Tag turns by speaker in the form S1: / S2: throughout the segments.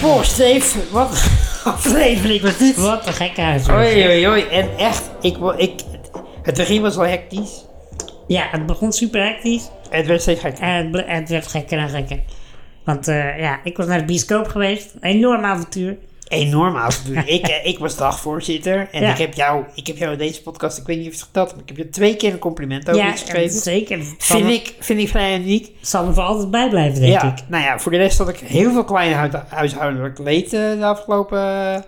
S1: Poh, Steve, wat een aflevering was dit?
S2: Wat een gekke huis.
S1: Oei, oei, oei. En echt, ik, wo- ik, het begin was wel hectisch.
S2: Ja, het begon super hectisch.
S1: Het werd steeds gek.
S2: En het, ble- en het werd gekker en gekker. Want eh, ja, ik was naar de bioscoop geweest. Een enorm avontuur.
S1: Enorm avontuur. ik, eh, ik was dagvoorzitter. En
S2: Ja.
S1: ik, heb jou, ik heb jou in deze podcast, ik weet niet of je het geteld hebt, maar ik heb je twee keer een compliment over
S2: Ja,
S1: iets geschreven.
S2: zeker. Het Zal,
S1: Vind
S2: me-
S1: ik, vind ik vrij uniek.
S2: zal me voor altijd bijblijven, denk
S1: ja,
S2: ik.
S1: nou ja, voor de rest had ik heel veel klein huid- huishoudelijk leed eh, de afgelopen eh,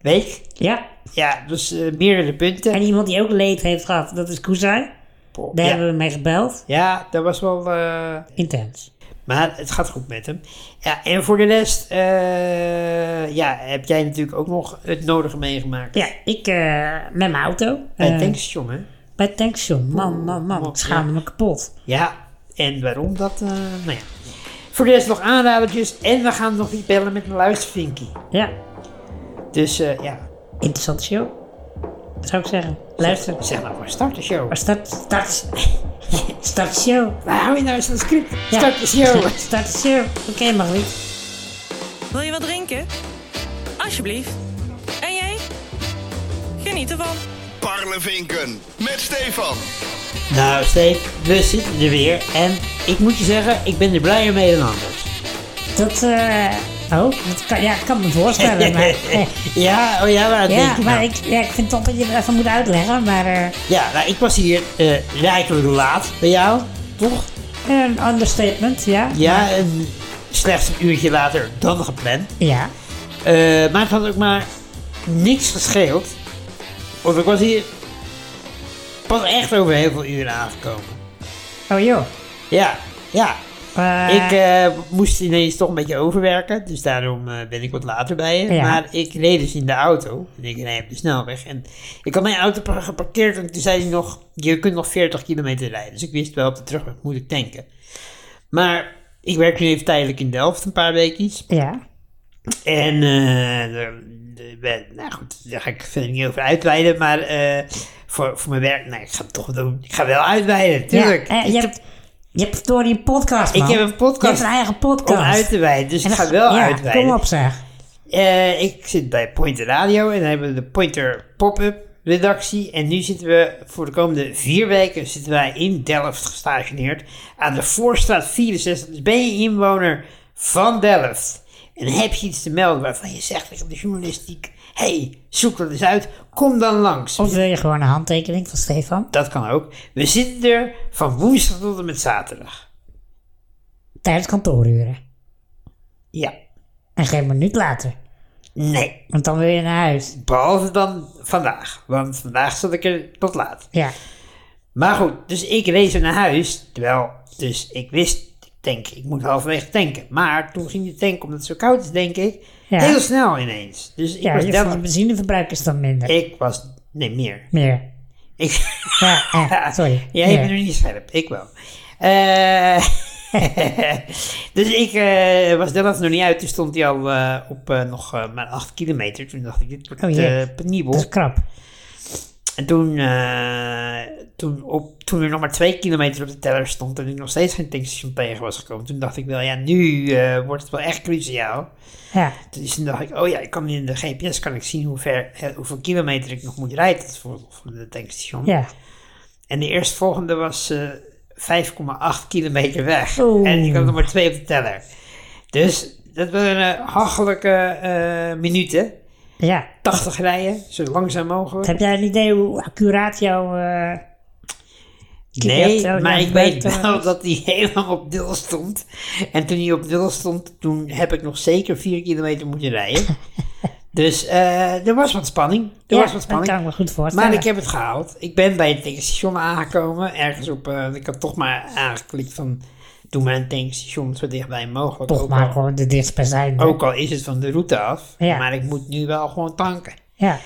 S1: week.
S2: Ja.
S1: Ja, dus eh, meerdere punten.
S2: En iemand die ook leed heeft gehad, dat is Koezai.
S1: Poh,
S2: Daar
S1: ja.
S2: hebben we mee gebeld.
S1: ja, dat was wel... eh,
S2: Intens.
S1: Maar het gaat goed met hem. Ja, en voor de rest eh, ja, heb jij natuurlijk ook nog het nodige meegemaakt.
S2: Ja, ik eh, met mijn auto.
S1: Bij
S2: eh,
S1: het tankstation, hè?
S2: Bij het tankstation. Man, man, man.
S1: man,
S2: Ik schaamde me kapot.
S1: Ja, en waarom dat? eh, nou ja. Voor de rest nog aanradertjes. En we gaan nog niet bellen met een luistervinkie.
S2: Ja,
S1: Dus eh, ja,
S2: interessante show. Zou ik zeggen. Luister.
S1: zeg maar voor start de show.
S2: Maar start, start, start de show.
S1: Waar hou je nou eens van het script?
S2: Ja.
S1: Start de show.
S2: Start de show. Oké, Margriet.
S3: Wil je wat drinken? Alsjeblieft. En jij? Geniet ervan.
S4: Parlevinken met Stefan.
S1: nou Steve, we zitten er weer. En ik moet je zeggen, ik ben er blijer mee dan anders.
S2: Dat, eh... oh, dat kan, ja, ik kan me voorstellen, maar... eh,
S1: ja, oh ja, waar denk
S2: ja,
S1: je
S2: maar
S1: nou?
S2: ik, ja, ik vind toch dat je het even moet uitleggen, maar... eh,
S1: Ja, nou, ik was hier eh rijkelijk laat bij jou, toch?
S2: een understatement, ja.
S1: Ja, en slechts een uurtje later dan gepland.
S2: Ja.
S1: Eh, maar het had ook maar niks gescheeld. Want ik was hier pas echt over heel veel uren aangekomen.
S2: Oh, joh.
S1: Ja, ja.
S2: Eh,
S1: ik eh, moest ineens toch een beetje overwerken. Dus daarom eh, ben ik wat later bij je.
S2: Ja.
S1: Maar ik reed dus in de auto. En ik reed op de snelweg. En ik had mijn auto par- geparkeerd. En toen zei hij nog, je kunt nog 40 kilometer rijden. Dus ik wist wel op de terugweg moet ik tanken. Maar ik werk nu even tijdelijk in Delft. Een paar weekjes.
S2: Ja.
S1: En, eh, de- de- we- nou goed, daar ga ik verder niet over uitweiden, maar eh, voor, voor mijn werk, nee, ik ga het toch doen. Ik ga wel uitweiden, tuurlijk.
S2: Ja, eh, je, hebt, je hebt door die podcast, man.
S1: ik heb een
S2: Je hebt
S1: podcast
S2: een eigen
S1: om
S2: podcast.
S1: uit te wijden, dus
S2: En
S1: ik
S2: dan-
S1: ga wel
S2: ja,
S1: uitweiden.
S2: kom op, zeg.
S1: Eh, ik zit bij Pointer Radio en daar hebben we de Pointer Pop-Up redactie. En nu zitten we voor de komende vier weken zitten wij in Delft gestationeerd aan de Voorstraat 64. Dus ben je inwoner van Delft en heb je iets te melden waarvan je zegt tegen de journalistiek... hey, zoek dat eens uit, kom dan langs.
S2: Of wil je gewoon een handtekening van Stefan?
S1: Dat kan ook. We zitten er van woensdag tot en met zaterdag.
S2: Tijdens kantooruren.
S1: Ja.
S2: En geen minuut later.
S1: Nee,
S2: Want dan wil je naar huis.
S1: behalve dan vandaag. Want vandaag zat ik er tot laat.
S2: Ja.
S1: Maar goed, dus ik reed naar huis. Terwijl, dus ik wist, ik denk, ik moet halverwege tanken. Maar toen ging de tank, omdat het zo koud is, denk ik,
S2: Ja.
S1: heel snel ineens. Dus ik
S2: Ja,
S1: was
S2: je
S1: Delft-
S2: van de benzineverbruik is dan minder.
S1: Ik was, nee, meer.
S2: Meer.
S1: Ik,
S2: Ja, eh, sorry.
S1: Jij
S2: Meer.
S1: bent er niet scherp, ik wel. Eh, dus ik eh, was Delft nog niet uit, toen stond hij al eh, op eh, nog eh, maar 8 kilometer. Toen dacht ik, dit wordt
S2: Oh,
S1: eh
S2: jee.
S1: penibel.
S2: Dat is krap.
S1: En toen, eh, toen, op, toen er nog maar twee kilometer op de teller stond en ik nog steeds geen tankstation tegen was gekomen, toen dacht ik wel, ja, nu eh, wordt het wel echt cruciaal.
S2: Ja.
S1: Dus toen dacht ik, oh ja, ik kan in de GPS kan ik zien hoe ver, eh, hoeveel kilometer ik nog moet rijden tot voor, voor de tankstation.
S2: Ja.
S1: En de eerstvolgende was eh 5,8 kilometer weg.
S2: Oeh.
S1: En ik had nog maar twee op de teller. Dus dat waren eh hachelijke eh, minuten.
S2: Ja.
S1: 80 rijden, zo langzaam mogelijk.
S2: Heb jij een idee hoe accuraat jouw... eh,
S1: Nee,
S2: hebt, eh,
S1: maar
S2: ja,
S1: ik weet
S2: werkt, eh,
S1: wel dat hij helemaal op nul stond. En toen hij op nul stond, toen heb ik nog zeker 4 kilometer moeten rijden. dus eh, er was wat spanning. Er
S2: ja,
S1: was wat
S2: dat kan ik
S1: spanning.
S2: me goed voorstellen.
S1: Maar ik heb het gehaald. Ik ben bij het tankstation aangekomen. Ergens op, eh, ik had toch maar aangeklikt van, doe maar een tankstation zo dichtbij mogelijk.
S2: Toch
S1: ook,
S2: maar
S1: al,
S2: gewoon de dichtstbijzijnde.
S1: ook al is het van de route af,
S2: Ja.
S1: maar ik moet nu wel gewoon tanken.
S2: Ja.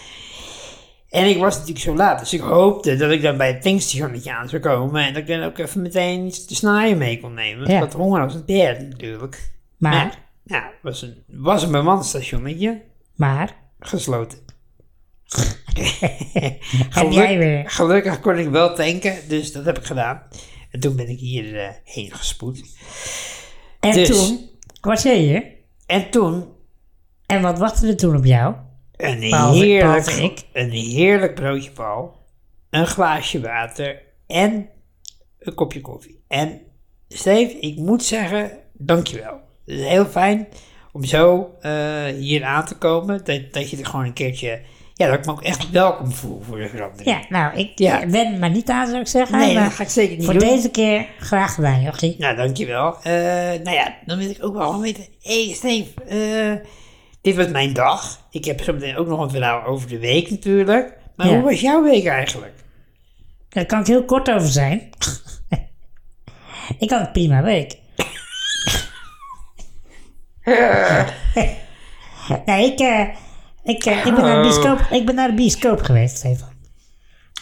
S1: En ik was natuurlijk zo laat, dus ik hoopte dat ik dan bij het tankstationnetje aan zou komen en dat ik dan ook even meteen iets te snijden mee kon nemen. Want
S2: Ja.
S1: ik had honger als een beer natuurlijk.
S2: Maar,
S1: ja, het was een, was een bemand stationnetje,
S2: maar...
S1: gesloten.
S2: Heb jij weer...
S1: Gelukkig kon ik wel tanken, dus dat heb ik gedaan. En toen ben ik hier eh heen gespoed.
S2: En
S1: dus-
S2: toen was jij hier.
S1: En toen
S2: En wat wachtte er toen op jou?
S1: Een
S2: Behalve-
S1: heerlijk,
S2: behalve ik.
S1: een heerlijk broodje paal, een glaasje water en een kopje koffie. En Steve, ik moet zeggen, dankjewel. Het is heel fijn om zo eh, hier aan te komen, dat, dat je er gewoon een keertje, ja, dat ik me ook echt welkom voel voor de verandering.
S2: Ja, nou, ik
S1: Ja.
S2: eh, wen maar niet aan, zou ik zeggen.
S1: Nee,
S2: maar
S1: dat ga ik zeker niet
S2: Voor
S1: doen.
S2: deze keer graag gedaan, Jochie.
S1: Nou, dankjewel. Eh nou ja, dan wil ik ook wel gewoon weten. Hé, hey, Steve, eh, dit was mijn dag. Ik heb zo meteen ook nog een verhaal over de week natuurlijk. Maar
S2: Ja.
S1: hoe was jouw week eigenlijk?
S2: Daar kan ik heel kort over zijn. ik had een prima week. nee, ik, eh, ik, eh, ik, ben naar de bioscoop, ik ben naar de bioscoop geweest, Stefan.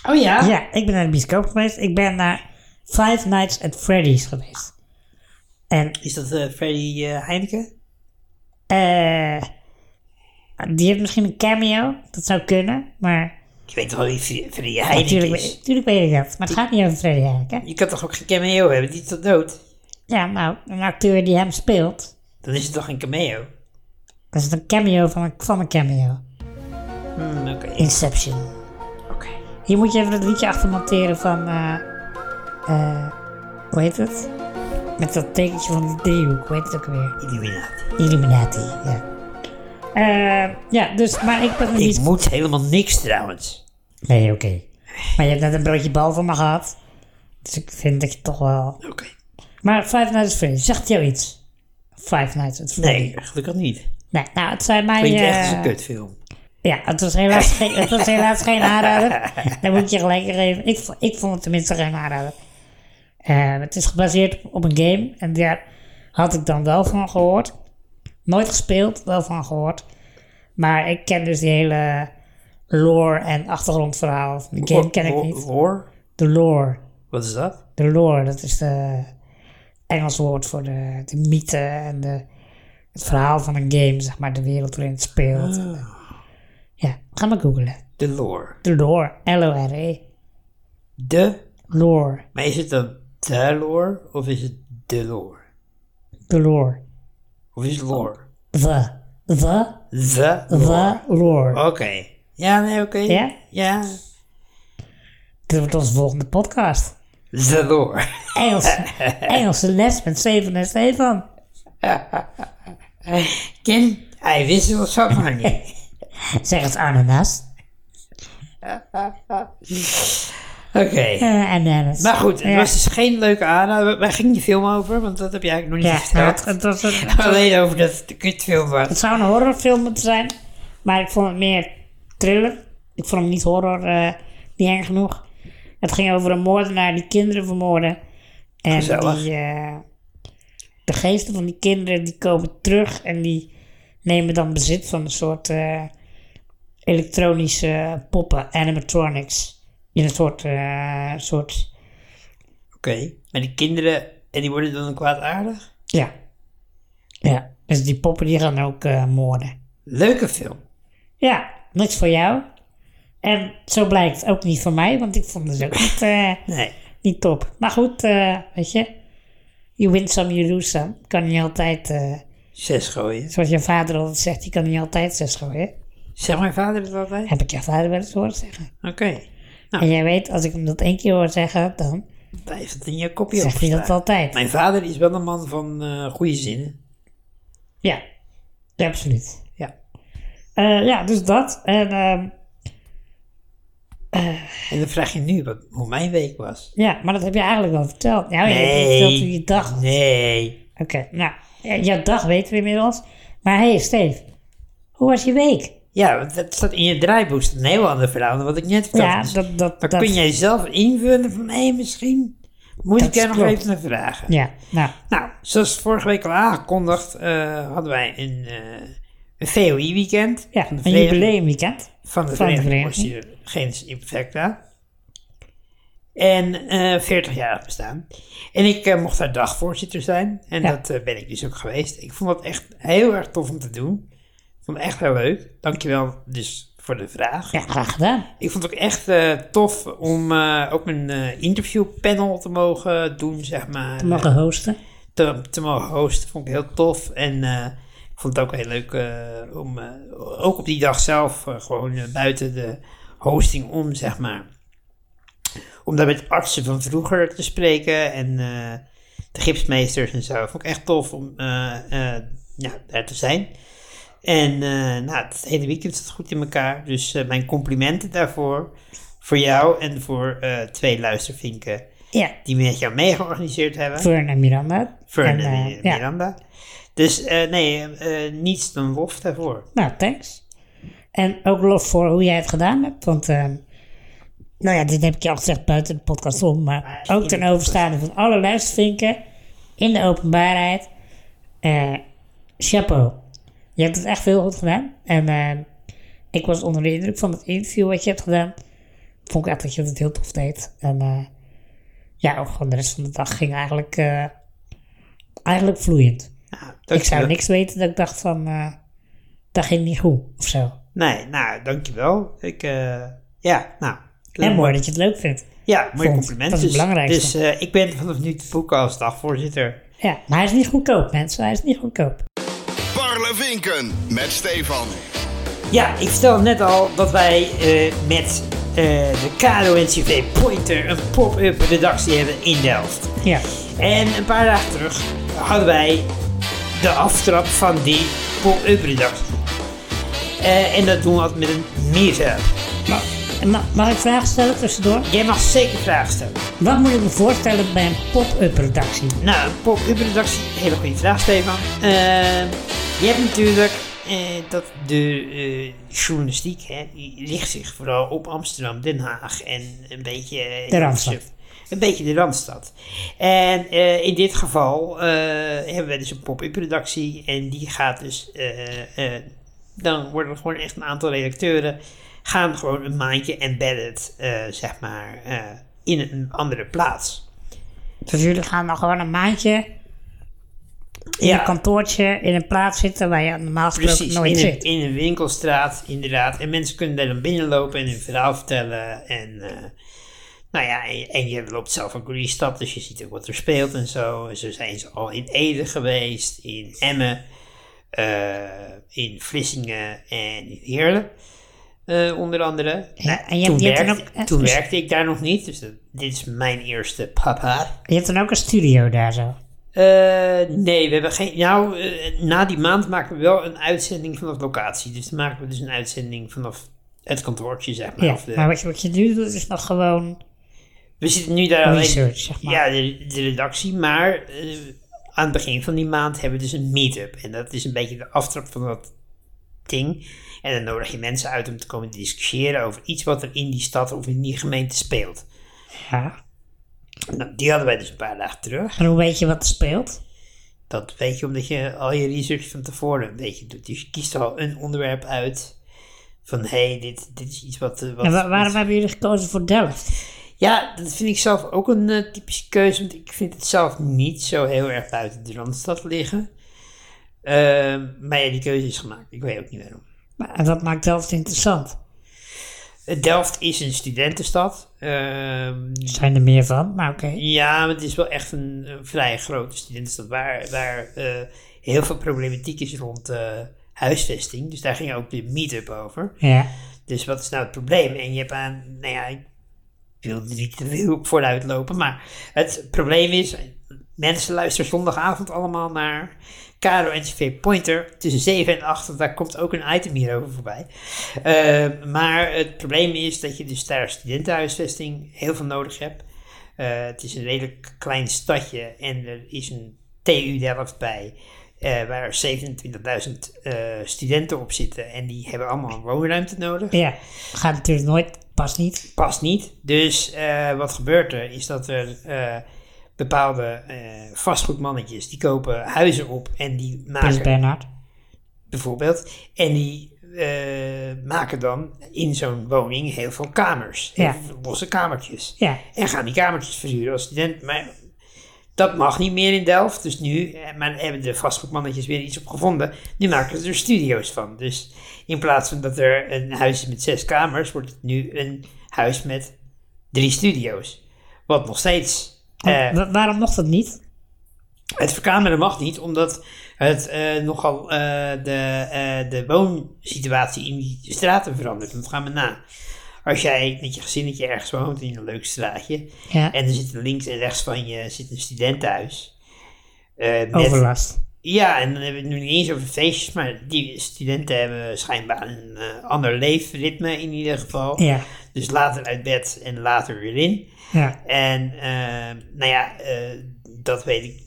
S1: Oh ja?
S2: Ja, ik ben naar de bioscoop geweest. Ik ben naar Five Nights at Freddy's geweest. En
S1: Is dat eh, Freddy eh, Heineken?
S2: eh, die heeft misschien een cameo. Dat zou kunnen. Maar
S1: Ik weet toch wel wie Fre- Freddy
S2: natuurlijk
S1: Heineken is?
S2: natuurlijk weet ik dat. Maar het gaat niet over Freddy eigenlijk. Hè?
S1: Je kan toch ook geen cameo hebben? Die is toch dood?
S2: Ja, nou, een acteur die hem speelt.
S1: Dan is het toch geen cameo?
S2: Dat is een cameo van een, van een cameo.
S1: Hmm, Oké.
S2: Inception.
S1: Oké.
S2: Hier moet je even het liedje achter monteren van. eh eh, hoe heet het? Met dat tekentje van die driehoek, hoe heet het ook weer?
S1: Illuminati.
S2: Illuminati, ja. Eh, ja, dus, maar ik ben er
S1: Ik
S2: niet.
S1: moet helemaal niks trouwens.
S2: Nee, oké. Maar je hebt net een broodje bal van me gehad. Dus ik vind dat je toch wel.
S1: Oké.
S2: Maar Five Nights at Freddy's, zegt jou iets? Five Nights at Freddy's.
S1: Nee, gelukkig niet.
S2: Nee, nou, het zijn mij.
S1: Klinkt echt als
S2: eh,
S1: een kutfilm.
S2: Ja, het was helaas geen, het was helaas geen aanrader. Dat moet ik je gelijk geven. Ik, vo- ik vond het tenminste geen aanrader. Eh, het is gebaseerd op een game. En daar had ik dan wel van gehoord. Nooit gespeeld, wel van gehoord. Maar ik ken dus die hele lore en achtergrondverhaal van de game ken ik
S1: Hoor-
S2: niet.
S1: hoor?
S2: De lore.
S1: Wat is dat?
S2: De lore, dat is de Engels woord voor de, de mythe en de, het verhaal van een game, zeg maar, de wereld waarin het speelt. Ja, ga maar googlen.
S1: De lore.
S2: De lore, L-O-R-E.
S1: De
S2: E, Lore,
S1: Maar is het dan de lore of is het de lore?
S2: de lore.
S1: Of is het lore?
S2: The, the,
S1: The lore.
S2: the lore.
S1: Oké. Ja, nee, oké.
S2: Ja?
S1: Ja.
S2: Dit wordt onze volgende podcast.
S1: The lore.
S2: Engels, Engelse les met Steven en Stefan.
S1: Ken, hij wist wel zo maar niet.
S2: Zeg eens ananas.
S1: Oké.
S2: Eh, ananas.
S1: Maar goed, het
S2: Ja.
S1: was dus geen leuke aanrader. Waar ging die film over? Want dat heb je eigenlijk nog
S2: Ja,
S1: niet
S2: nou,
S1: verteld.
S2: het, het was een,
S1: Alleen over dat het een kutfilm was.
S2: Het zou een horrorfilm moeten zijn, maar ik vond het meer thriller. Ik vond hem niet horror, eh, niet eng genoeg. Het ging over een moordenaar die kinderen vermoorden. En
S1: Gezellig.
S2: die, eh, de geesten van die kinderen die komen terug en die nemen dan bezit van een soort eh, elektronische poppen, animatronics. In een soort, eh, soort
S1: Oké. Maar die kinderen, en die worden dan kwaadaardig?
S2: ja. ja. Dus die poppen die gaan ook eh, moorden.
S1: Leuke film.
S2: Ja, niks voor jou. En zo blijkt ook niet voor mij, want ik vond het ook niet, eh,
S1: Nee.
S2: niet top. Maar goed, eh, weet je, you win some, you lose some. Kan niet altijd, eh,
S1: Zes gooien.
S2: zoals je vader altijd zegt, je kan niet altijd zes gooien.
S1: Zeg mijn vader dat altijd?
S2: Heb ik je vader wel eens horen zeggen.
S1: Oké. Ah.
S2: En jij weet, als ik hem dat één keer hoor zeggen, dan
S1: Daar heeft het in je kopje
S2: zegt hij dat
S1: opgestaan.
S2: altijd.
S1: Mijn vader is wel een man van eh goede zinnen.
S2: Ja, ja, absoluut.
S1: Ja.
S2: Eh, ja, dus dat. En ehm,
S1: En dan vraag je nu wat, hoe mijn week was.
S2: ja, maar dat heb je eigenlijk al verteld. Ja, Oh, je hebt
S1: Nee.
S2: niet verteld hoe je dag was.
S1: Nee.
S2: Oké, nou, eh, jouw dag weten we inmiddels. Maar hey, Steve, hoe was je week?
S1: Ja, want dat staat in je draaiboek. Dat is een heel ander verhaal dan wat ik net vertelde.
S2: ja,
S1: Dus
S2: dat, dat,
S1: dat
S2: dat-
S1: kun jij zelf invullen van mij misschien. Moet
S2: Dat
S1: ik daar
S2: is
S1: nog
S2: klopt.
S1: even naar vragen?
S2: Ja, nou,
S1: Nou, zoals vorige week al aangekondigd, eh, hadden wij een, eh, een VOI-weekend.
S2: ja,
S1: van de
S2: een
S1: Verenigde-
S2: jubileumweekend.
S1: van de
S2: Van de
S1: Verenigde
S2: Vereniging.
S1: Naties Gens Imperfecta. En eh 40 jaar bestaan. En ik eh, mocht daar dagvoorzitter zijn. En
S2: Ja.
S1: dat eh, ben ik dus ook geweest. Ik vond dat echt heel erg tof om te doen. Ik vond het echt heel leuk. Dankjewel dus voor de vraag.
S2: Ja, graag gedaan.
S1: Ik vond het ook echt eh, tof om eh, ook mijn eh, interviewpanel te mogen doen, zeg maar.
S2: Mogen hosten.
S1: Te, te mogen hosten. Vond ik heel tof. En eh, vond het ook heel leuk eh, om eh, ook op die dag zelf eh, gewoon eh, buiten de hosting om, zeg maar. Om daar met artsen van vroeger te spreken en eh, de gipsmeesters en zo. Vond ik echt tof om eh, eh, ja, daar te zijn. En eh, nou, het hele weekend zat goed in elkaar. Dus eh, mijn complimenten daarvoor. Voor jou en voor eh, twee luistervinken
S2: Ja,
S1: die met jou mee georganiseerd hebben.
S2: Fern en Miranda.
S1: Fern en,
S2: eh,
S1: eh,
S2: ja.
S1: Miranda. Dus eh, nee, eh, eh, niets dan lof daarvoor.
S2: Nou, thanks. En ook lof voor hoe jij het gedaan hebt. Want, ehm, nou ja, dit heb ik je al gezegd buiten de podcast om. Maar ook ten overstaande van alle luistervinken in de openbaarheid. eh, chapeau. Je hebt het echt heel goed gedaan. En ehm, ik was onder de indruk van het interview wat je hebt gedaan. Vond ik echt dat je het heel tof deed. En eh, ja, ook gewoon de rest van de dag ging eigenlijk, eh, eigenlijk vloeiend.
S1: Nou,
S2: Ik zou
S1: dankjewel.
S2: niks weten dat ik dacht van, eh, dat ging niet goed of zo.
S1: Nee, nou, dankjewel. Ik, eh, ja, nou.
S2: En mooi dat je het leuk vindt.
S1: Ja, mooi
S2: vond.
S1: compliment.
S2: Dat is het
S1: Dus-
S2: belangrijkste.
S1: Dus eh, ik ben vanaf nu te boeken als dagvoorzitter.
S2: Ja, maar hij is niet goedkoop, mensen. Hij is niet goedkoop.
S4: Parlevinken met Stefan.
S1: Ja, ik vertelde net al dat wij eh, met eh, de KRO-NCV Pointer een pop-up redactie hebben in Delft.
S2: Ja,
S1: En een paar dagen terug hadden wij de aftrap van die pop-up redactie. Eh, en dat doen we altijd met een meetup.
S2: Ma- mag ik vragen stellen tussendoor?
S1: Jij mag zeker vragen stellen.
S2: Wat moet ik me voorstellen bij een pop-up redactie?
S1: Nou, een pop-up redactie, hele goede vraag Stefan. Eh, je hebt natuurlijk eh, dat de eh, journalistiek, hè, die richt zich vooral op Amsterdam, Den Haag en een beetje... eh,
S2: De Randstad.
S1: Een beetje de Randstad. En eh, in dit geval eh, hebben we dus een pop-up redactie en die gaat dus... eh, eh, dan worden er gewoon echt een aantal redacteuren gaan gewoon een maandje embedded, eh, zeg maar, eh, in een andere plaats.
S2: Dus jullie gaan dan gewoon een maandje in
S1: Ja.
S2: een kantoortje in een plaats zitten waar je normaal gesproken
S1: Precies,
S2: nooit
S1: in een,
S2: zit.
S1: in een winkelstraat inderdaad. En mensen kunnen daar dan binnenlopen en hun verhaal vertellen. En, eh, nou ja, en, en je loopt zelf ook door die stad, dus je ziet ook wat er speelt en zo. En zo zijn ze al in Ede geweest, in Emmen, eh, in Vlissingen en in Heerlen. eh, onder andere. Nou,
S2: en je-
S1: toen
S2: je hebt dan
S1: werkte,
S2: ook, eh,
S1: toen
S2: dus-
S1: werkte ik daar nog niet, dus dat- dit is mijn eerste papa.
S2: Je hebt dan ook een studio daar zo.
S1: Eh, nee, we hebben geen. Nou, eh, na die maand maken we wel een uitzending vanaf locatie. Dus dan maken we dus een uitzending vanaf het kantoortje, zeg maar.
S2: Ja,
S1: Of de-
S2: maar wat je, wat je nu doet is nog gewoon
S1: we zitten nu daar alleen.
S2: research, zeg maar.
S1: Ja, de, de redactie. Maar eh, aan het begin van die maand hebben we dus een meet-up. En dat is een beetje de aftrap van dat ding. En dan nodig je mensen uit om te komen discussiëren over iets wat er in die stad of in die gemeente speelt.
S2: Ja.
S1: Nou, die hadden wij dus een paar dagen terug.
S2: En hoe weet je wat er speelt?
S1: Dat weet je omdat je al je research van tevoren een beetje doet. Dus je kiest al een onderwerp uit. Van hé, hey, dit, dit is iets wat. eh, wat
S2: En wa- waarom hebben jullie gekozen voor Delft?
S1: Ja, dat vind ik zelf ook een eh, typische keuze. Want ik vind het zelf niet zo heel erg buiten de randstad liggen. Ehm, maar ja, die keuze is gemaakt. Ik weet ook niet waarom.
S2: Maar- En wat maakt Delft interessant?
S1: Eh, Delft is een studentenstad. Ehm,
S2: Er zijn er meer van, maar oké.
S1: Ja, maar het is wel echt een, een vrij grote studentenstad waar, waar eh, heel veel problematiek is rond eh, huisvesting. Dus daar ging ook de meet-up over.
S2: Ja.
S1: Dus wat is nou het probleem? En je hebt aan, nou ja, ik wil er niet te veel op vooruit lopen, maar het probleem is, mensen luisteren zondagavond allemaal naar Caro NCV Pointer tussen 7 en 8, want daar komt ook een item hierover voorbij. Eh, maar het probleem is dat je dus daar studentenhuisvesting heel veel nodig hebt. Eh, het is een redelijk klein stadje en er is een TU Delft bij. eh, waar 27.000 eh, studenten op zitten en die hebben allemaal een woonruimte nodig
S2: Ja, gaat natuurlijk nooit, past niet.
S1: past niet. Dus eh, wat gebeurt er is dat er eh, bepaalde eh, vastgoedmannetjes die kopen huizen op en die
S2: Prins
S1: maken
S2: Bernhard.
S1: bijvoorbeeld en die eh, maken dan in zo'n woning heel veel kamers,
S2: Ja.
S1: heel veel losse kamertjes
S2: Ja,
S1: en gaan die kamertjes verhuren als student. Maar dat mag niet meer in Delft. Dus nu eh, maar hebben de vastgoedmannetjes weer iets op gevonden. Nu maken ze er studio's van. Dus in plaats van dat er een huis is met zes kamers, wordt het nu een huis met drie studio's. Wat nog steeds. eh,
S2: Oh. Wa- waarom mocht dat niet?
S1: Het verkameren mag niet, omdat het eh, nogal eh, de, eh, de woonsituatie in die straten verandert. Want ga me na. Als jij met je gezinnetje ergens woont in een leuk straatje.
S2: Ja.
S1: En er zit links en rechts van je zit een studentenhuis. eh, met-
S2: Overlast.
S1: ja, en dan hebben we het nu niet eens over feestjes, maar die studenten hebben schijnbaar een eh, ander leefritme in ieder geval.
S2: Ja.
S1: Dus later uit bed en later weer in.
S2: Ja.
S1: En eh, nou ja, eh, dat weet ik.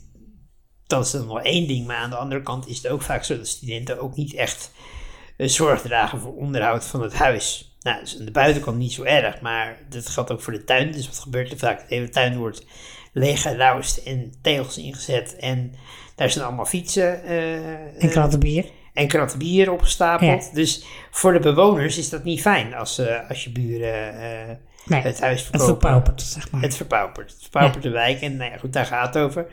S1: Dat is dan wel één ding. Maar aan de andere kant is het ook vaak zo dat studenten ook niet echt eh, zorg dragen voor onderhoud van het huis. Nou, dat is aan de buitenkant niet zo erg, maar dat geldt ook voor de tuin. Dus wat gebeurt er vaak? De hele tuin wordt leeg geroust en tegels ingezet. En daar zijn allemaal fietsen eh,
S2: En klatten bier.
S1: en kratten bier opgestapeld.
S2: Ja.
S1: Dus voor de bewoners is dat niet fijn als, eh, als je buren eh,
S2: Nee,
S1: het huis
S2: Het
S1: verkopen.
S2: verpaupert, zeg maar.
S1: Het verpaupert. Het verpaupert de wijk. En nou ja, goed, daar gaat het over.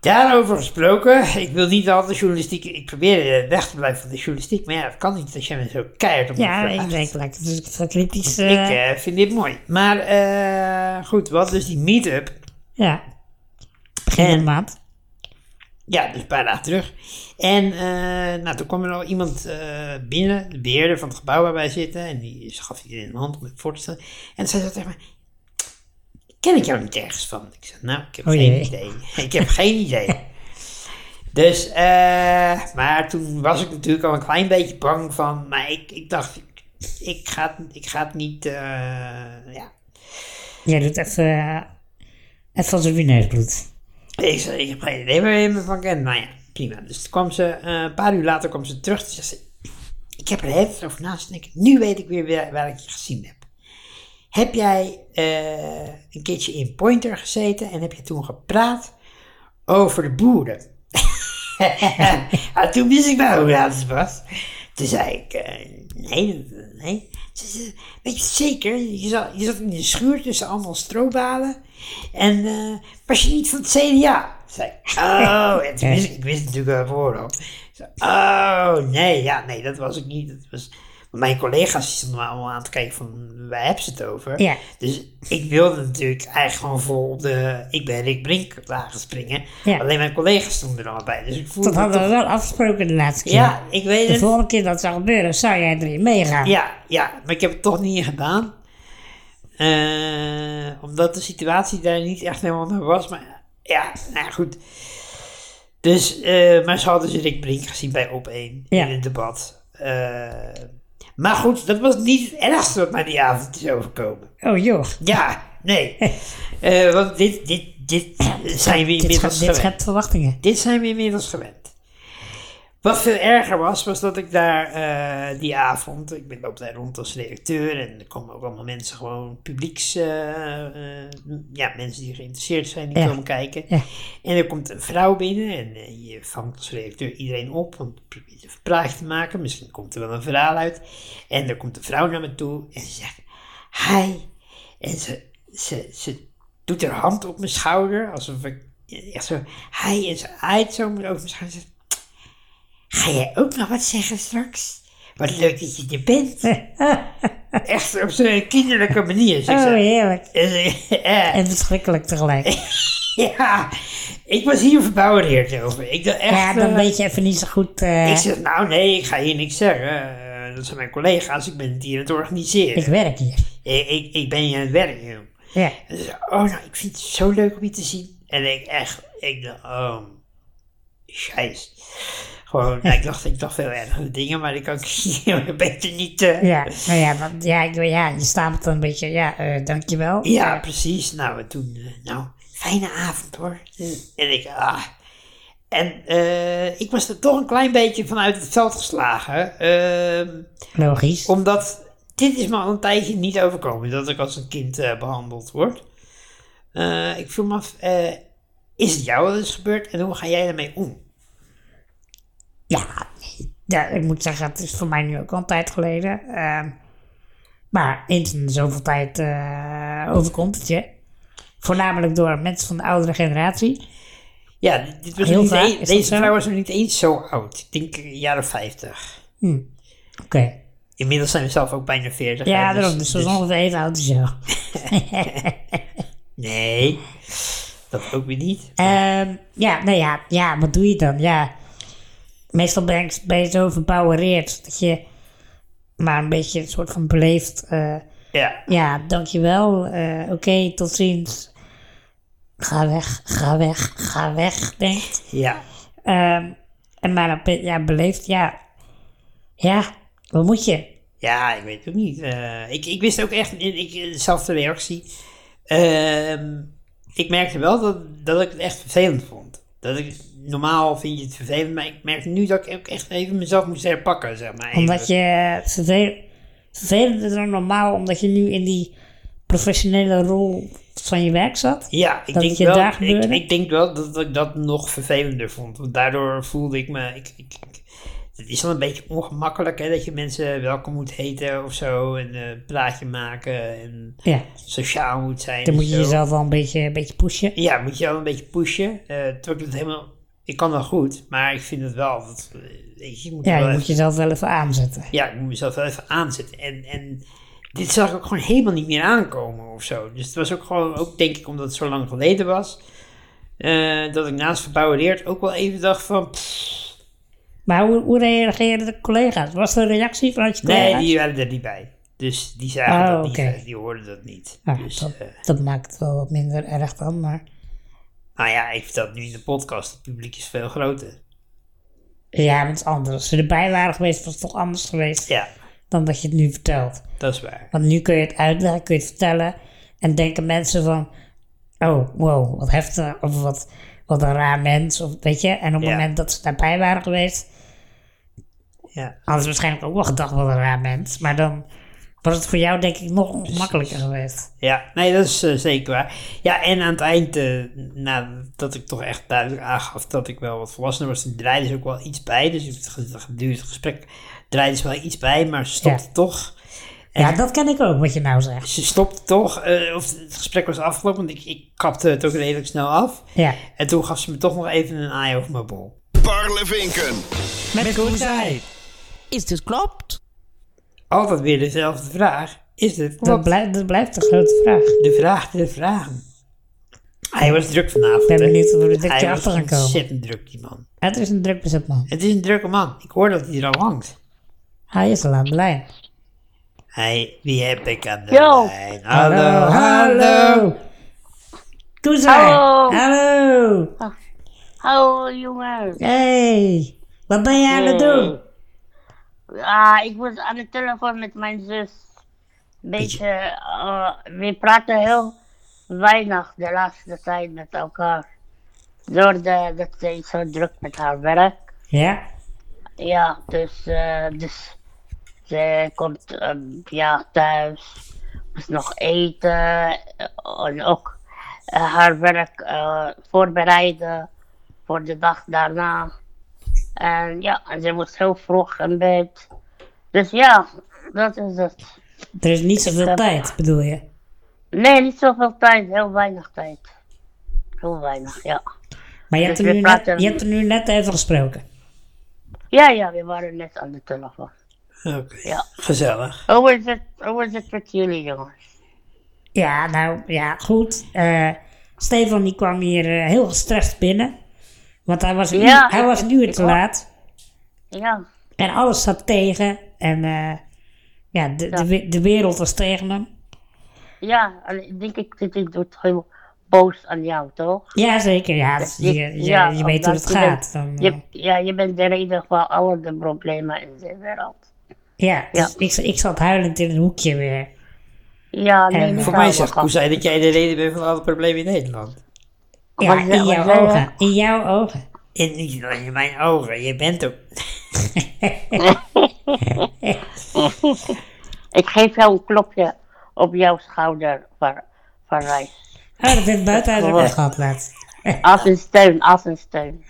S1: Daarover gesproken, ik wil niet al de journalistiek, ik probeer eh, weg te blijven van de journalistiek, maar ja, dat kan niet als je me zo keihard op
S2: ja,
S1: me
S2: ik
S1: verbaast.
S2: denk dat het is kritisch.
S1: Ik
S2: eh,
S1: eh, vind dit mooi. Maar eh, goed, wat dus die meet-up,
S2: ja. Begin van de maand.
S1: ja, dus een paar dagen terug. En eh, nou, toen kwam er al iemand eh, binnen, de beheerder van het gebouw waar wij zitten, en die gaf iedereen een hand om het voor te stellen. En zij zei tegen mij, ken ik jou niet ergens van? Ik zei, nou, ik heb
S2: Oh
S1: geen
S2: jee.
S1: idee. Ik heb geen idee. Dus, eh, maar toen was ik natuurlijk al een klein beetje bang van, maar ik, ik dacht, ik, ik, ga, het- ik ga het niet, eh, ja.
S2: Jij doet even. eh, even als een wienersbloed.
S1: Ik zei, ik heb geen idee waar je me van kent. Nou ja, prima. Dus toen kwam ze, eh, een paar uur later kwam ze terug. Toen zei ze, ik heb er heel veel over naast. En ik, nu weet ik weer waar, waar ik je gezien heb. Heb jij eh, een keertje in Pointer gezeten en heb je toen gepraat over de boeren? en Ah, toen wist ik wel hoe laat het was. Toen zei ik, eh, nee, dat- nee. Ze zei, weet je het zeker, je zat, je zat in de schuur tussen allemaal strobalen. En eh, was je niet van het CDA? Zei ik, oh, en toen wist ik, ik wist natuurlijk wel voorop. Ze zei, Oh, nee, ja, nee, dat was ik niet. Dat was, want mijn collega's stonden me allemaal aan te kijken van, waar hebben ze het over?
S2: Ja.
S1: Dus ik wilde natuurlijk eigenlijk gewoon vol op de, ik ben Rick Brink lagen springen.
S2: Ja.
S1: Alleen mijn collega's stonden er al bij, dus ik voelde
S2: Dat
S1: me
S2: hadden
S1: toch-
S2: we wel afgesproken de laatste keer.
S1: Ja, ik weet
S2: De
S1: het.
S2: volgende keer dat zou gebeuren, zou jij erin meegaan.
S1: Ja, ja, maar ik heb het toch niet gedaan. Eh, omdat de situatie daar niet echt helemaal naar was. Maar ja, nou ja, goed. Dus, eh, maar ze hadden ze Rick Brink gezien bij Op1
S2: Ja.
S1: in het debat. Eh, maar goed, dat was niet het ergste wat mij die avond is overkomen.
S2: Oh joh,
S1: Ja, nee. Eh, want dit, dit, dit zijn we
S2: dit,
S1: inmiddels
S2: scha- dit
S1: gewend.
S2: schept verwachtingen.
S1: Dit zijn we inmiddels gewend. Wat veel erger was, was dat ik daar eh, die avond, ik ben loop daar rond als redacteur en er komen ook allemaal mensen, gewoon publieks, eh, eh, ja, mensen die geïnteresseerd zijn, die
S2: Ja.
S1: komen kijken.
S2: Ja.
S1: En er komt een vrouw binnen en eh, je vangt als redacteur iedereen op, want je probeert een praatje te maken, misschien komt er wel een verhaal uit. En er komt een vrouw naar me toe en ze zegt, hi. En ze, ze, ze doet haar hand op mijn schouder, alsof ik echt zo, hi, en ze aait zo over mijn schouder. Ze zegt, Ga jij ook nog wat zeggen straks? Wat leuk dat je er bent. Echt op zo'n kinderlijke manier. Zeg
S2: Oh
S1: ze.
S2: heerlijk.
S1: En ze- eh,
S2: En verschrikkelijk tegelijk.
S1: ja, ik was hier verbouwereerd over. Ik dacht echt...
S2: Ja, dan
S1: eh,
S2: weet je even niet zo goed. eh,
S1: Ik zeg, nou nee, ik ga hier niks zeggen. Eh, dat zijn mijn collega's, ik ben het hier aan het organiseren.
S2: ik
S1: Ik,
S2: werk hier.
S1: ik, ik, ben hier aan het werk, joh.
S2: Ja.
S1: En ze zei, oh nou, ik vind het zo leuk om je te zien. En ik echt, ik dacht, oh, scheiß. Gewoon, nou, ik dacht, ik dacht veel ergere dingen, maar ik kan hier beter niet... eh,
S2: Ja, nou ja, dan, ja, ik, ja, je stapelt dan een beetje, ja, eh dankjewel.
S1: Ja, precies. Nou, en toen, eh, nou, fijne avond hoor. En ik, ah. En eh, ik was er toch een klein beetje vanuit het veld geslagen. ehm,
S2: Logisch.
S1: omdat dit is me al een tijdje niet overkomen, dat ik als een kind eh, behandeld word. Eh, ik voel me af, eh, is het jou wel eens gebeurd en hoe ga jij daarmee om?
S2: Ja, nee. ja, ik moet zeggen, het is voor mij nu ook al een tijd geleden. ehm, maar eens in zoveel tijd eh, overkomt het je. Voornamelijk door mensen van de oudere generatie.
S1: Ja, dit- dit was
S2: Heel
S1: niet
S2: vaak,
S1: een-
S2: is dat
S1: deze
S2: zo?
S1: vrouw was nog niet eens zo oud. Ik denk eh, jaren 50.
S2: Oké.
S1: Inmiddels zijn we zelf ook bijna 40.
S2: Ja,
S1: hè, dus-
S2: dus daarom. Dus dat is ongeveer even oud als jou.
S1: Nee. Dat ook weer niet.
S2: Ehm, ja, nou ja, ja, wat doe je dan? Ja, meestal ben ik, ben je zo verbouwereerd dat je maar een beetje een soort van beleefd... eh,
S1: Ja.
S2: ja, dankjewel. eh Oké, tot ziens. Ga weg, ga weg, ga weg, denkt.
S1: Ja.
S2: Ehm, en maar dan be- ja, beleefd, ja. Ja, wat moet je?
S1: Ja, ik weet het ook niet. Eh, ik, ik wist ook echt, ik, ik- dezelfde reactie. Ehm, ik merkte wel dat, dat ik het echt vervelend vond. Dat ik, normaal vind je het vervelend, maar ik merkte nu dat ik ook echt even mezelf moest herpakken, zeg maar. Even.
S2: Omdat je eh, vervel- vervelend is dan normaal, omdat je nu in die professionele rol van je werk zat.
S1: Ja, ik
S2: dat
S1: denk,
S2: het je
S1: wel,
S2: daar
S1: ik,
S2: gebeurde?
S1: ik denk wel dat ik dat nog vervelender vond. Want daardoor voelde ik me... Ik, ik, ik- het is dan een beetje ongemakkelijk hè, dat je mensen welkom moet heten of zo. En eh, een plaatje maken en
S2: Ja,
S1: sociaal moet zijn.
S2: dan
S1: en
S2: moet je
S1: zo.
S2: jezelf wel een beetje, een beetje pushen.
S1: Ja, moet je wel een beetje pushen. Eh terwijl ik het helemaal... Ik kan dat goed, maar ik vind het wel... Dat, eh, weet je, je moet
S2: Ja,
S1: wel
S2: je
S1: even-
S2: moet jezelf wel even aanzetten.
S1: ja, ik moet mezelf wel even aanzetten. En, en dit zag ik ook gewoon helemaal niet meer aankomen of zo. Dus het was ook gewoon, ook denk ik omdat het zo lang geleden was, eh, dat ik naast verbouwen leert ook wel even dacht van, pff,
S2: Maar hoe, hoe reageerden de collega's? Was er een reactie vanuit je collega's?
S1: nee, die waren er niet bij. Dus die zagen
S2: Oh,
S1: dat niet,
S2: oké.
S1: eh, die hoorden dat niet.
S2: Nou,
S1: dus,
S2: dat,
S1: eh,
S2: dat maakt het wel wat minder erg dan, maar
S1: nou ja, ik vertel het nu in de podcast, het publiek is veel groter.
S2: ja, met anders. Als ze erbij waren geweest, was het toch anders geweest
S1: Ja,
S2: dan dat je het nu vertelt.
S1: dat is waar.
S2: Want nu kun je het uitleggen, kun je het vertellen en denken mensen van, oh, wow, wat heftig, of wat, wat een raar mens, of weet je. En op het
S1: Ja.
S2: moment dat ze daarbij waren geweest,
S1: Ja,
S2: hadden ze waarschijnlijk ook wel gedacht, wat een raar mens. Maar dan was het voor jou denk ik nog
S1: Dus-
S2: ongemakkelijker geweest.
S1: ja nee, dat is eh, zeker waar. Ja, en aan het eind, eh, nadat ik toch echt duidelijk aangaf dat ik wel wat volwassener was, toen draaide ze ook wel iets bij. Dus het ge- gedurende het gesprek draaide ze wel iets bij, maar ze stopte
S2: Ja.
S1: toch. En
S2: Ja, dat ken ik ook, wat je nou zegt.
S1: Ze stopte toch, eh, of het gesprek was afgelopen, want ik, ik kapte het ook redelijk snel af.
S2: Ja.
S1: En toen gaf ze me toch nog even een eye over mijn bol.
S4: Parlevinken.
S3: Met Koen Is dit klopt?
S1: Altijd weer dezelfde vraag. Is dit
S2: Dat,
S1: klopt?
S2: blijft dat blijft een grote vraag.
S1: De vraag, de vraag. Hij was druk vanavond.
S2: Ik ben
S1: hè.
S2: benieuwd of we er
S1: Hij
S2: dikje
S1: was
S2: achter gaan komen.
S1: ontzettend druk, die man.
S2: Het is een druk bezet man.
S1: Het is een drukke man. Ik hoor dat hij er al hangt.
S2: Hij is al aan de lijn.
S1: Hey, wie heb ik aan de
S5: Yo.
S1: lijn? Hallo, hallo.
S2: hallo. Koezai.
S5: Hallo.
S2: Hallo.
S5: Hallo Oh, jongen.
S2: Hey. Wat ben jij aan het doen?
S5: Ah, ik was aan de telefoon met mijn zus. Een beetje, eh, we praten heel weinig de laatste tijd met elkaar. Door de, dat ze zo druk met haar werk.
S2: Ja.
S5: Ja, dus, eh, dus ze komt eh, ja, thuis, moest nog eten eh, en ook eh, haar werk eh, voorbereiden voor de dag daarna. En ja, en ze moest heel vroeg in bed. Dus ja, dat is het.
S2: Er is niet zoveel
S5: heb-
S2: tijd, bedoel je?
S5: Nee, niet zoveel tijd, heel weinig tijd. Heel weinig, ja.
S2: Maar je hebt,
S5: Dus
S2: er
S5: we
S2: nu net,
S5: praten-
S2: je hebt er nu net even gesproken.
S5: Ja, ja, we waren net aan de telefoon.
S1: Oké,
S5: Ja.
S1: gezellig.
S5: Hoe is het, hoe is het met jullie jongens?
S2: Ja, nou ja, goed. Eh, Stefan die kwam hier eh, heel gestrest binnen. Want hij was een
S5: Ja,
S2: uur, hij
S5: ik-
S2: was een uur te
S5: hoor-
S2: laat.
S5: Ja.
S2: En alles zat tegen. En eh, ja, de, de, we- de wereld was tegen hem.
S5: Ja, en ik denk ik dat ik doet heel boos aan jou, toch?
S2: Jazeker, ja. dat- je, je,
S5: ja,
S2: je weet hoe
S5: omdat
S2: het
S5: je
S2: gaat.
S5: bent-
S2: Dan, eh,
S5: Je, ja, je bent de reden van alle de problemen in de wereld.
S2: ja,
S5: ja.
S2: dus Ik, ik zat huilend in een hoekje weer.
S5: Ja, nee,
S2: En
S5: niet
S1: Voor mij
S5: ouwe
S1: zegt
S5: gast.
S1: Koezij dat jij de reden bent van alle problemen in Nederland.
S2: Ja,
S5: Wat-
S2: in
S5: wat
S2: jouw
S5: zei je?
S2: ogen. In jouw ogen.
S1: En niet alleen in mijn ogen, je bent ook...
S5: Ik geef jou een klopje op jouw schouder van, van Rijs.
S2: Oh, dat heeft buiten ook
S5: Gewoon.
S2: nog gehad laatst.
S5: Als een steun, als een steun.